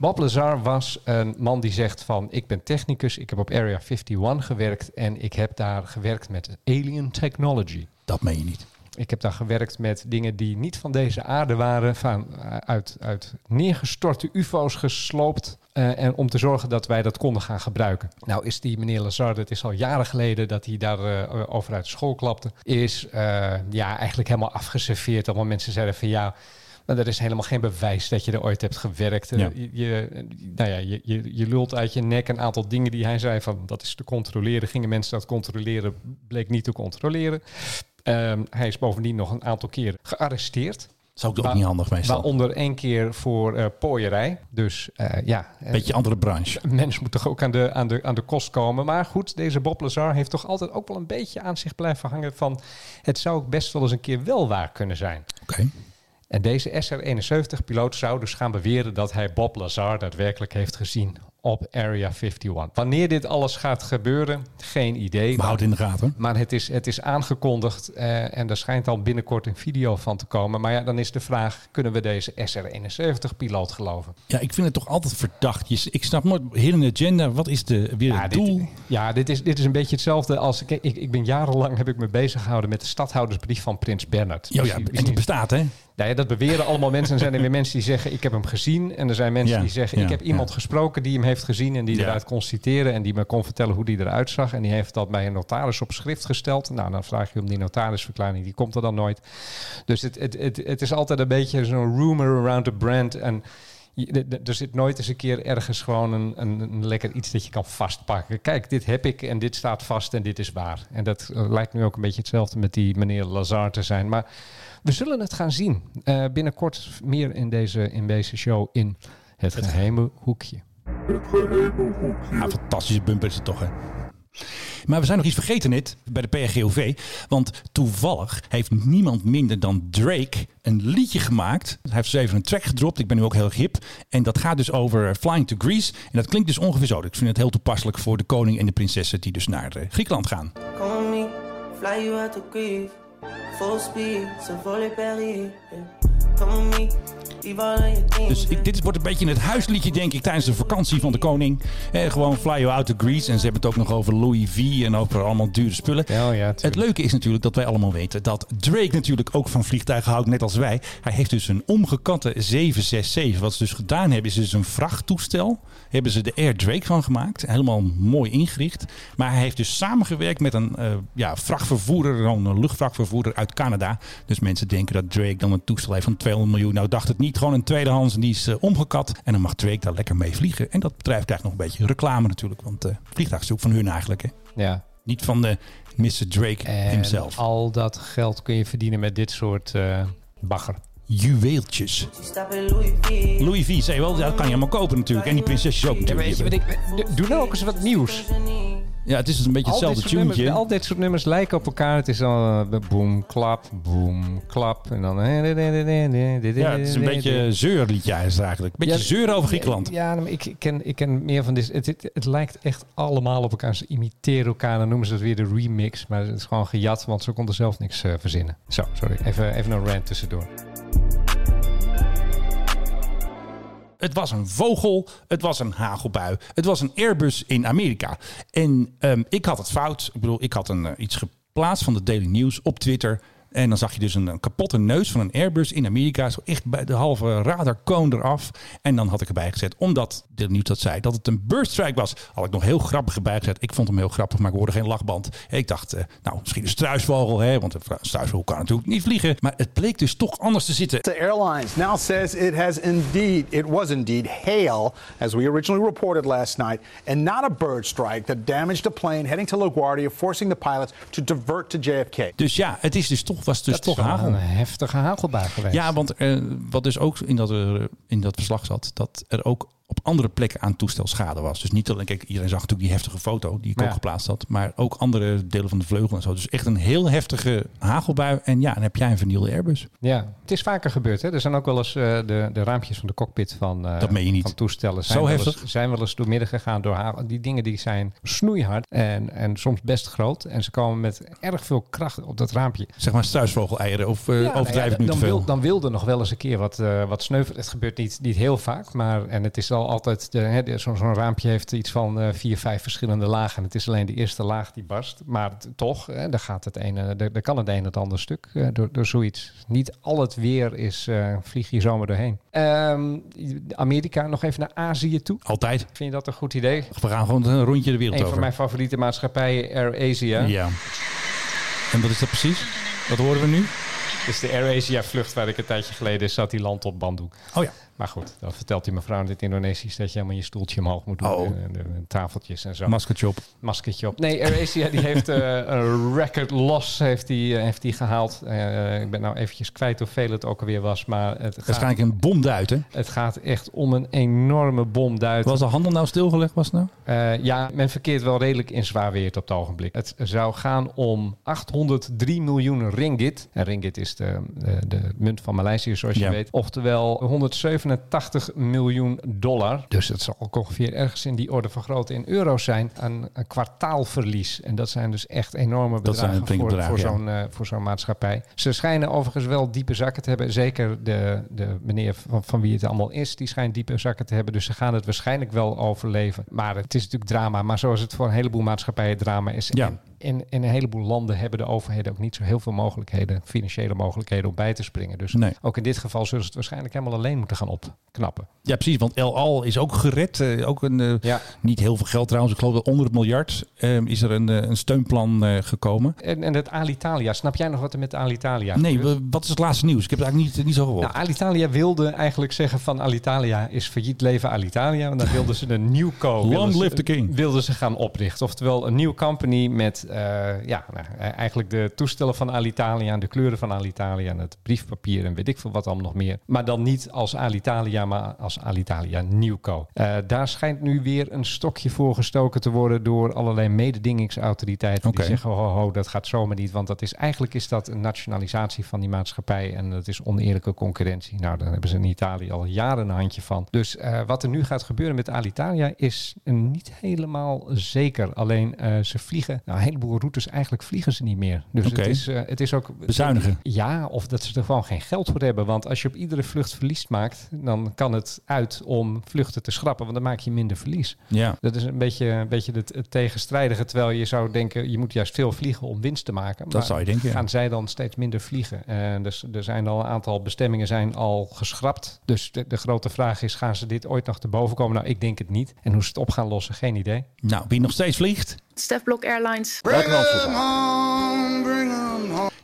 Bob Lazar was een man die zegt van... ik ben technicus, ik heb op Area 51 gewerkt... en ik heb daar gewerkt met alien technology.
Dat meen je niet.
Ik heb daar gewerkt met dingen die niet van deze aarde waren... Van, eh, uit, uit neergestorte ufo's gesloopt... eh, en om te zorgen dat wij dat konden gaan gebruiken. Nou is die meneer Lazar, dat is al jaren geleden... dat hij daar eh, over uit school klapte... is eh, ja, eigenlijk helemaal afgeserveerd. Allemaal mensen zeiden van ja... Maar er is helemaal geen bewijs dat je er ooit hebt gewerkt. Eh,
Ja.
Je, je- nou ja, je, je, je lult uit je nek een aantal dingen die hij zei van dat is te controleren. Gingen mensen dat controleren, bleek niet te controleren. Ehm, hij is bovendien nog een aantal keer gearresteerd.
Zou ik ook
Waar-
niet handig meestal.
Waaronder één keer voor eh pooierij. Dus eh, ja, eh,
Beetje andere branche.
mens moet toch ook aan de, aan, de, aan de kost komen. Maar goed, deze Bob Lazar heeft toch altijd ook wel een beetje aan zich blijven hangen van het zou ook best wel eens een keer wel waar kunnen zijn.
Oké.
En deze SR-71-piloot zou dus gaan beweren dat hij Bob Lazar daadwerkelijk heeft gezien op Area 51. Wanneer dit alles gaat gebeuren, geen idee.
We houden in de gaten.
Maar het is, het is aangekondigd eh, en er schijnt al binnenkort een video van te komen. Maar ja, dan is de vraag, kunnen we deze SR-71-piloot geloven?
Ja, ik vind het toch altijd verdacht. Je- Ik snap nooit, hidden agenda, wat is de, weer het
dit,
doel?
ja dit, is, dit is een beetje hetzelfde als... Ik,
Oh
ik, ik ben jarenlang heb ik me bezig gehouden met de stadhoudersbrief van Prins Bernhard. Dus
Ja, ja, en die bestaat, hè?
Nou ja, dat beweren allemaal mensen. En
[LAUGHS]
zijn er weer mensen die zeggen, ik heb hem gezien. En er zijn mensen
Ja,
die zeggen,
ja,
ik heb iemand
ja.
gesproken die hem heeft gezien. En die
Ja.
eruit kon citeren. En die me kon vertellen hoe die eruit zag. En die heeft dat bij een notaris op schrift gesteld. Nou, dan vraag je om die notarisverklaring. Die komt er dan nooit. Dus het, het, het, het is altijd een beetje zo'n rumor around the brand. En je- de- de- er zit nooit eens een keer ergens gewoon een, een, een lekker iets dat je kan vastpakken. Kijk, dit heb ik en dit staat vast en dit is waar. En dat eh, lijkt nu ook een beetje hetzelfde met die meneer Lazar te zijn. Maar we zullen het gaan zien. Eh, binnenkort meer in deze, in deze show in het geheime hoekje.
Ja, fantastische bumper is het toch, hè? Maar we zijn nog iets vergeten, net bij de PRGOV. Want toevallig heeft niemand minder dan Drake een liedje gemaakt. Hij heeft dus even een track gedropt. Ik ben nu ook heel erg hip. En dat gaat dus over eh, Flying to Greece. En dat klinkt dus ongeveer zo. Ik vind het heel toepasselijk voor de koning en de prinsessen die dus naar eh, Griekenland gaan.
Call me, fly you out to Greece. Full speed, so volley Paris. Yeah. Call me, leave all of your things.
Dus ik, dit wordt een beetje het huisliedje, denk ik, tijdens de vakantie van de koning. Eh, gewoon fly you out to Greece. En ze hebben het ook nog over Louis V en over allemaal dure spullen.
Ja, ja, tuurlijk.
het leuke is natuurlijk dat wij allemaal weten dat Drake natuurlijk ook van vliegtuigen houdt, net als wij. Hij heeft dus een omgekatte 767. Wat ze dus gedaan hebben, is dus een vrachttoestel. Hebben ze de Air Drake van gemaakt. Helemaal mooi ingericht. Maar hij heeft dus samengewerkt met een eh, ja, vrachtvervoerder, een luchtvrachtvervoerder uit Canada. Dus mensen denken dat Drake dan een toestel heeft van 200 miljoen. Nou dacht het niet. Gewoon een tweedehands en die is eh, omgekat. En dan mag Drake daar lekker mee vliegen. En dat bedrijf krijgt nog een beetje reclame natuurlijk. Want eh vliegtuig is ook van hun eigenlijk. Hè?
Ja.
Niet van de Mr. Drake
En
himself.
Eh, al dat geld kun je verdienen met dit soort eh, bagger.
Juweeltjes.
She stop at Louis V.
Louis V. zei wel, ja, dat kan je allemaal kopen natuurlijk. En die prinsesjes ook natuurlijk.
doe nou ook eens wat nieuws.
Ja, het is dus een beetje
Al dit,
hetzelfde
soort nummers,
tuentje.
al dit soort nummers lijken op elkaar. Het is dan eh, boom, klap, boom, klap. En dan...
Ja, het is een beetje zeurliedje is het eigenlijk. Een beetje
Ja,
zeur over Griekenland.
Ja, maar ik, ik, ken, ik ken meer van dit. Het, het, het lijkt echt allemaal op elkaar. Ze imiteren elkaar. Dan noemen ze het weer de remix. Maar het is gewoon gejat, want ze konden zelf niks eh, verzinnen. Zo, sorry. Even, even een rant tussendoor.
Het was een vogel, het was een hagelbui, het was een Airbus in Amerika. En ehm, ik had het fout. Ik bedoel, ik had een, eh, iets geplaatst van de Daily News op Twitter. En dan zag je dus een, een kapotte neus van een Airbus in Amerika. Zo echt bij de halve radarkoon eraf. En dan had ik erbij gezet, omdat Daily News dat zei, dat het een burststrike was. Had ik nog heel grappig erbij gezet. Ik vond hem heel grappig, maar ik hoorde geen lachband. Ik dacht, eh, nou, misschien een struisvogel, hè, want een struisvogel kan natuurlijk niet vliegen. Maar het bleek dus toch anders te zitten.
Delta Airlines now says it has indeed, it was indeed hail, as we originally reported last night, and not a bird strike that damaged a plane heading to LaGuardia, forcing the pilots to divert to JFK.
Dus ja, het is dus toch, was dus
is
toch hagel.
een heftige hagelbui geweest.
Ja, want eh, wat dus ook in dat, eh, in dat verslag zat, dat er ook op andere plekken aan toestelschade was. Dus niet alleen, kijk, iedereen zag natuurlijk die heftige foto die ik
Ja.
ook geplaatst had, maar ook andere delen van de vleugel en zo. Dus echt een heel heftige hagelbui. En ja, dan heb jij een vernielde Airbus.
Ja, het is vaker gebeurd. Hè? Er zijn ook wel eens eh, de, de raampjes van de cockpit van, eh,
Dat meen je niet.
van toestellen.
Zo
wel
heftig?
Eens, zijn wel eens doormidden gegaan door hagel. Die dingen die zijn snoeihard en, en soms best groot. En ze komen met erg veel kracht op dat raampje.
Zeg maar struisvogel-eieren of eh
Ja, nou
overdrijf
ja,
ik nu
dan,
te veel.
Wil, dan wil er nog wel eens een keer wat, eh wat sneuvel. Het gebeurt niet, niet heel vaak, maar en het is al altijd. de- hè, de- Zo'n zo'n raampje heeft iets van eh, vier, vijf verschillende lagen. En het is alleen de eerste laag die barst. Maar t- toch, hè, daar gaat het ene, daar, daar kan het een het ander stuk eh, door, door zoiets. Niet al het weer is, eh, vlieg je zomaar doorheen. Ehm, Amerika, nog even naar Azië toe.
Altijd.
Vind je dat een goed idee?
We gaan gewoon een rondje de wereld
Een van
over.
mijn favoriete maatschappijen, AirAsia.
ja. En wat is dat precies? Wat horen we nu?
Dus de AirAsia vlucht waar ik een tijdje geleden zat, die land op Bandung.
Oh ja.
Maar goed, dan vertelt die mevrouw in het Indonesisch dat je helemaal je stoeltje omhoog moet doen.
Oh.
En, en, en tafeltjes en zo.
Maskertje op.
Maskertje op. Nee, Eurasia die heeft eh, een record loss heeft die, eh, heeft die gehaald. Eh, ik ben nou eventjes kwijt hoeveel het ook alweer was. Maar het gaat,
Waarschijnlijk een bom duiten.
het gaat echt om een enorme bom duiten.
Was de handel nou stilgelegd? Was het nou?
Eh, ja, men verkeert wel redelijk in zwaar weer op het ogenblik. Het zou gaan om 803 miljoen ringgit. En ringgit is de, de, de munt van Maleisië, zoals
Ja.
je weet. Oftewel 187 miljoen dollar. Dus dat zal ook ongeveer ergens in die orde van grootte in euro's zijn. Een, een kwartaalverlies. En dat zijn dus echt enorme
Dat zijn
bedragen
flinke
voor,
bedragen,
voor
ja.
zo'n eh, voor zo'n maatschappij. Ze schijnen overigens wel diepe zakken te hebben. Zeker de, de meneer van, van wie het allemaal is, die schijnt diepe zakken te hebben. Dus ze gaan het waarschijnlijk wel overleven. Maar het is natuurlijk drama. Maar zoals het voor een heleboel maatschappijen drama is.
Ja.
En en, en een heleboel landen hebben de overheden ook niet zo heel veel mogelijkheden, financiële mogelijkheden om bij te springen. Dus
Nee.
ook in dit geval zullen ze het waarschijnlijk helemaal alleen moeten gaan opknappen.
Ja, precies. Want El Al is ook gered. Eh, ook een, eh,
Ja.
Niet heel veel geld trouwens. Ik geloof dat onder het miljard eh, is er een, eh, een steunplan eh, gekomen.
En, en het Alitalia, snap jij nog wat er met Alitalia
nee,
gebeurt?
we- wat is het laatste nieuws? Ik heb het eigenlijk niet, niet zo gehoord.
Nou, Alitalia wilde eigenlijk zeggen van Alitalia is failliet, leven Alitalia. Want dan wilden ze een nieuw co. wilden ze-
live the king.
Wilden ze gaan oprichten. Oftewel een nieuwe company met eh, ja, nou, eh, eigenlijk de toestellen van Alitalia... en de kleuren van Alitalia en het briefpapier en weet ik veel wat allemaal nog meer. Maar dan niet als Alitalia, maar als Alitalia Nieuwco. Eh daar schijnt nu weer een stokje voor gestoken te worden... door allerlei mededingingsautoriteiten
Oké.
die zeggen... ho, ho, ho, dat gaat zomaar niet. Want dat is, eigenlijk is dat een nationalisatie van die maatschappij... en dat is oneerlijke concurrentie. Nou, daar hebben ze in Italië al jaren een handje van. Dus eh, wat er nu gaat gebeuren met Alitalia is niet helemaal zeker. Alleen eh, ze vliegen, nou, een heleboel routes eigenlijk vliegen ze niet meer. Dus
Oké.
het, is, eh, het is ook...
Bezuinigen.
Ja, of dat ze er gewoon geen geld voor hebben. Want als je op iedere vlucht verlies maakt... dan kan het uit om vluchten te schrappen. Want dan maak je minder verlies.
Ja.
Dat is een beetje, een beetje het, het tegenstrijdige. Terwijl je zou denken, je moet juist veel vliegen om winst te maken. Maar
zou je denken, ja.
Gaan zij dan steeds minder vliegen? En dus er zijn al een aantal bestemmingen zijn al geschrapt. Dus de, de grote vraag is, gaan ze dit ooit nog te boven komen? Nou, ik denk het niet. En hoe ze het op gaan lossen, geen idee.
Nou, wie nog steeds vliegt?
Stef Blok Airlines.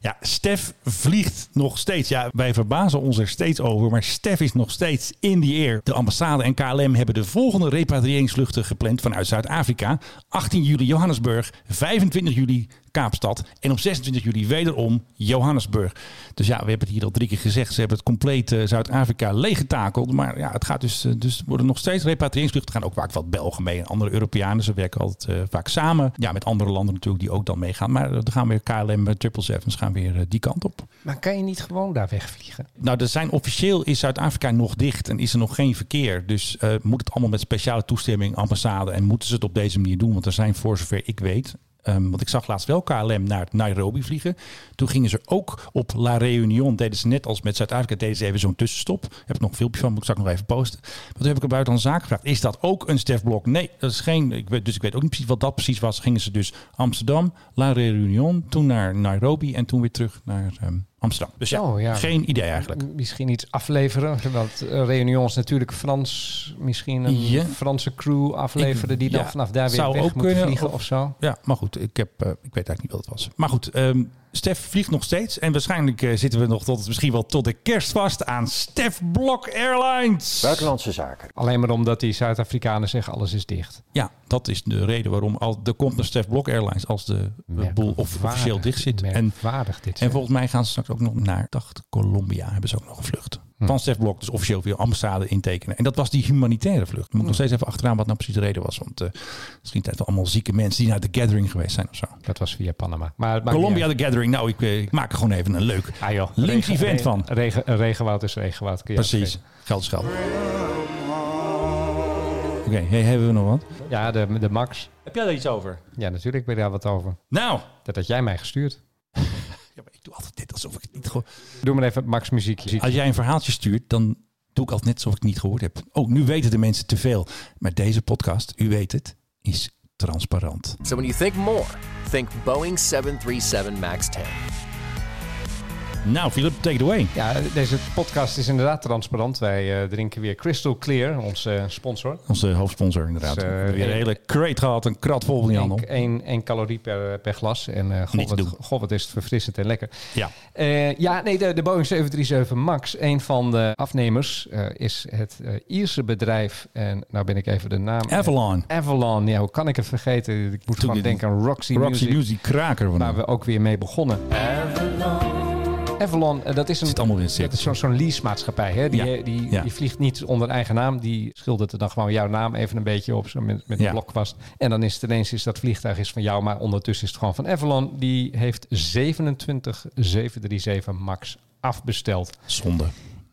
Ja, Stef vliegt nog steeds. Ja, wij verbazen ons er steeds over. Maar Stef is nog steeds in the air. De ambassade en KLM hebben de volgende repatriëringsvluchten gepland vanuit Zuid-Afrika. 18 juli Johannesburg, 25 juli Kaapstad. En op 26 juli wederom Johannesburg. Dus ja, we hebben het hier al drie keer gezegd. Ze hebben het compleet eh, Zuid-Afrika leeggetakeld. Maar ja, het gaat dus, eh, dus er worden nog steeds repatriëringsvluchten. Er gaan ook vaak wat Belgen mee en andere Europeanen. Ze werken altijd eh, vaak samen. Ja, met andere landen natuurlijk die ook dan meegaan. Maar eh, er gaan weer KLM 777's gaan weer eh, die kant op.
Maar kan je niet gewoon daar wegvliegen?
Nou, er zijn, officieel is Zuid-Afrika nog dicht en is er nog geen verkeer. Dus eh, moet het allemaal met speciale toestemming, ambassade. En moeten ze het op deze manier doen? Want er zijn voor zover ik weet. ehm, want ik zag laatst wel KLM naar Nairobi vliegen. Toen gingen ze ook op La Réunion. Deden ze net als met Zuid-Afrika. Deden ze even zo'n tussenstop. Heb ik nog een filmpje van. Moet ik straks nog even posten. Maar toen heb ik een buitenlandse zaak gevraagd. Is dat ook een stefblok? Nee, dat is geen. Ik weet, dus ik weet ook niet precies wat dat precies was. Gingen ze dus Amsterdam, La Réunion. Toen naar Nairobi. En toen weer terug naar ehm, Amsterdam. Dus ja,
Oh, ja.
geen idee eigenlijk.
Misschien iets afleveren. Want eh, Reunions natuurlijk Frans. Misschien een
Ja.
Franse crew afleveren die dan
Ja,
vanaf daar weer
zou
weg
ook
moeten
kunnen,
vliegen
of-
of, zo.
Ja, maar goed, ik, heb, eh, ik weet eigenlijk niet wat het was. Maar goed, ehm, Stef vliegt nog steeds. En waarschijnlijk eh, zitten we nog tot, misschien wel tot de kerst vast aan Stef Blok Airlines.
Buitenlandse zaken.
Alleen maar omdat die Zuid-Afrikanen zeggen alles is dicht.
Ja, dat is de reden waarom al, er komt een Stef Blok Airlines als de eh, boel of, officieel dicht zit. En,
Merkwaardig dit.
en
zeg.
volgens mij gaan ze straks ook nog naar, dacht Colombia, hebben ze ook nog een vlucht. Van Stef Blok, dus officieel weer ambassade intekenen. En dat was die humanitaire vlucht. Moet ik nog steeds even achteraan wat nou precies de reden was. Want eh misschien zijn het allemaal zieke mensen die naar de gathering geweest zijn of zo.
Dat was via Panama. Maar het maakt
Colombia
niet
The Gathering. Nou, ik, eh, ik maak er gewoon even een leuk
uit. Ah joh,
links
regen-
event
re-
van.
Regen, eh, regenwoud is regenwoud. kun je
Precies. Geld is geld. Oké, hey, hebben we nog wat?
afgeven. Ja, de, de Max.
Heb jij daar iets over?
Ja, natuurlijk ben je daar wat over.
Nou.
Dat had jij mij gestuurd.
Ja, maar ik doe altijd dit alsof ik het niet gehoord
Doe maar even het Max muziekje.
Als jij een verhaaltje stuurt, dan doe ik altijd net alsof ik het niet gehoord heb. Oh, nu weten de mensen te veel. Maar deze podcast, u weet het, is transparant.
So when you think more, think Boeing 737 MAX 10.
Nou, Philip, take it away.
Ja, deze podcast is inderdaad transparant. Wij eh, drinken weer Crystal Clear, onze eh, sponsor.
Onze hoofdsponsor inderdaad.
Dus, eh,
We hebben weer een hele crate gehad, een krat vol van die handel.
Eén- één- één calorie per, per glas. En eh
Niet
god,
te
wat,
doen.
god, wat is het verfrissend en lekker.
Ja.
Eh, ja, nee, de, de Boeing 737 MAX, een van de afnemers, eh, is het eh, Ierse bedrijf. En nou ben ik even de naam.
Avalon.
Avalon, ja, hoe kan ik het vergeten? Ik moet gewoon
die-
denken aan Roxy,
Roxy
Music,
News, die kraker van
waar
hem.
we ook weer mee begonnen. Avalon. eh, dat is een...
Zit allemaal weer in het
Dat is
cirkeltje.
zo'n zo'n leasemaatschappij. Hè? Die,
Ja,
die,
ja.
die vliegt niet onder eigen naam. Die schildert er dan gewoon jouw naam even een beetje op. Zo met, met
Ja.
een blokwast. En dan is het ineens is dat vliegtuig is van jou. Maar ondertussen is het gewoon van Avalon. Die heeft 27 737 MAX afbesteld.
Zonde.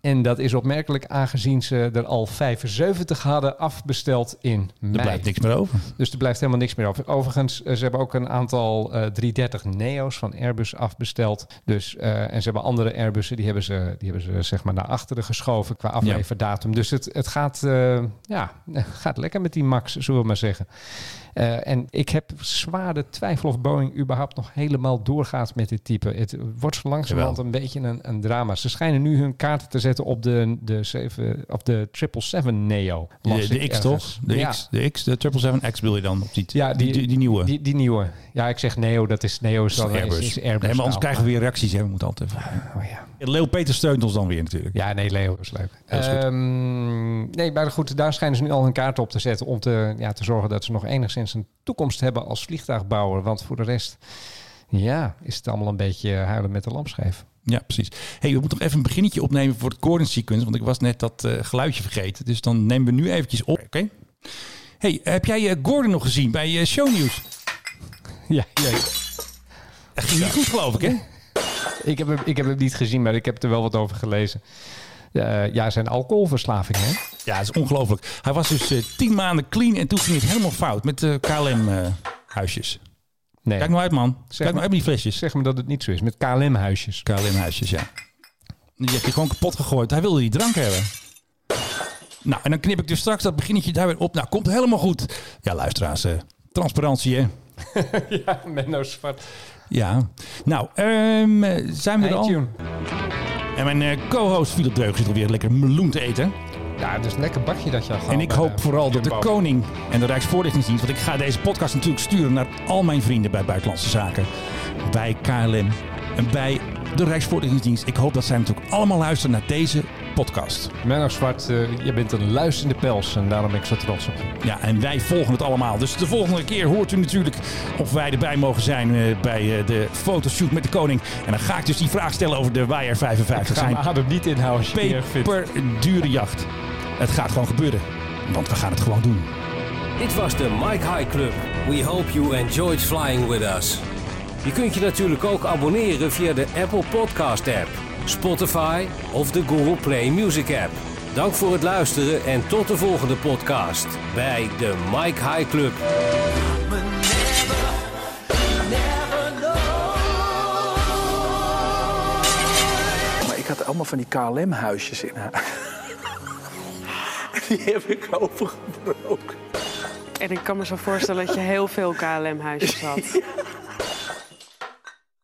En dat is opmerkelijk aangezien ze er al 75 hadden afbesteld in mei.
Er blijft niks meer over.
Dus er blijft helemaal niks meer over. Overigens, eh, ze hebben ook een aantal eh, 330 Neo's van Airbus afbesteld. Dus, eh, en ze hebben andere Airbussen, die hebben ze, die hebben ze zeg maar naar achteren geschoven qua [LAUGHS] afleverdatum. Dus het, het gaat, eh, ja, gaat lekker met die Max, zullen we maar zeggen. Eh, en ik heb zwaar de twijfel of Boeing überhaupt nog helemaal doorgaat met dit type. Het wordt zo langzamerhand een beetje een, een drama. Ze schijnen nu hun kaarten te zetten op de, de, 7, of de 777 Neo. las
De, de
ik
X
ergens.
toch? De
ja.
X, de X, de 777X wil je dan op die,
Ja,
die, die, die nieuwe.
Die, die nieuwe. Ja, ik zeg Neo, dat is Neo. Is,
Dat
dan,
is Airbus.
Is, is
Nee,
Airbus
maar anders
taal.
krijgen we weer reacties. Hè? We moeten altijd even... Leo Peter steunt ons dan weer natuurlijk.
Ja, nee, Leo is leuk.
Dat is goed.
Ehm, nee, maar goed, daar schijnen ze nu al hun kaart op te zetten om te, ja, te zorgen dat ze nog enigszins een toekomst hebben als vliegtuigbouwer. Want voor de rest, ja, is het allemaal een beetje huilen met de lampschijf. [LAUGHS]
Ja, precies. hey, we moeten nog even een beginnetje opnemen voor het Gordon sequence. Want ik was net dat eh, geluidje vergeten. Dus dan nemen we nu eventjes op. Oké. hey, heb jij eh, Gordon nog gezien bij eh, Shownieuws?
Ja, ja.
Dat ging niet goed geloof ik hè?
Ik heb, hem, ik heb hem niet gezien, maar ik heb er wel wat over gelezen. Eh, ja, zijn alcoholverslaving, hè?
Ja, dat is ongelooflijk. Hij was dus eh, tien maanden clean en toen ging het helemaal fout met eh, de KLM-huisjes.
Nee.
Kijk nou uit, man. Kijk nou
maar-
uit met die flesjes.
Zeg me dat het niet zo is, met
[LAUGHS]
KLM-huisjes.
KLM-huisjes, ja. Die heb je gewoon kapot gegooid. Hij wilde die drank hebben. Nou, en dan knip ik dus straks dat beginnetje daar weer op. Nou, komt helemaal goed. Ja, luisteraars, eh, transparantie, hè?
ja, Menno Zwart.
Ja. Nou, ehm, eh, zijn we er al?
iTunes.
En mijn eh, co-host Philip Dreug zit alweer lekker meloen te eten.
Ja, het is een lekker bakje dat je had
En ik hoop vooral dat de koning en de Rijksvoorlichtingsdienst... want ik ga deze podcast natuurlijk sturen naar al mijn vrienden bij Buitenlandse Zaken. Bij KLM en bij de Rijksvoorlichtingsdienst. Ik hoop dat zij natuurlijk allemaal luisteren naar deze podcast.
Menno Zwart, eh, je bent een luisterende pels en daarom ben ik zo trots op je.
Ja, en wij volgen het allemaal. Dus de volgende keer hoort u natuurlijk of wij erbij mogen zijn eh, bij eh, de fotoshoot met de koning. En dan ga ik dus die vraag stellen over de Wire 55.
Ga
Zijn
mijn adem niet inhouden als je het niet erg vindt.
peperdure jacht. Het gaat gewoon gebeuren. Want we gaan het gewoon doen.
Dit was de Mike High Club. We hope you enjoyed flying with us. Je kunt je natuurlijk ook abonneren via de Apple Podcast app, Spotify of de Google Play Music app. Dank voor het luisteren en tot de volgende podcast bij de Mike High Club.
Maar ik had allemaal van die KLM-huisjes in haar. Die heb ik opengebroken.
En ik kan me zo voorstellen dat je heel veel KLM-huisjes had.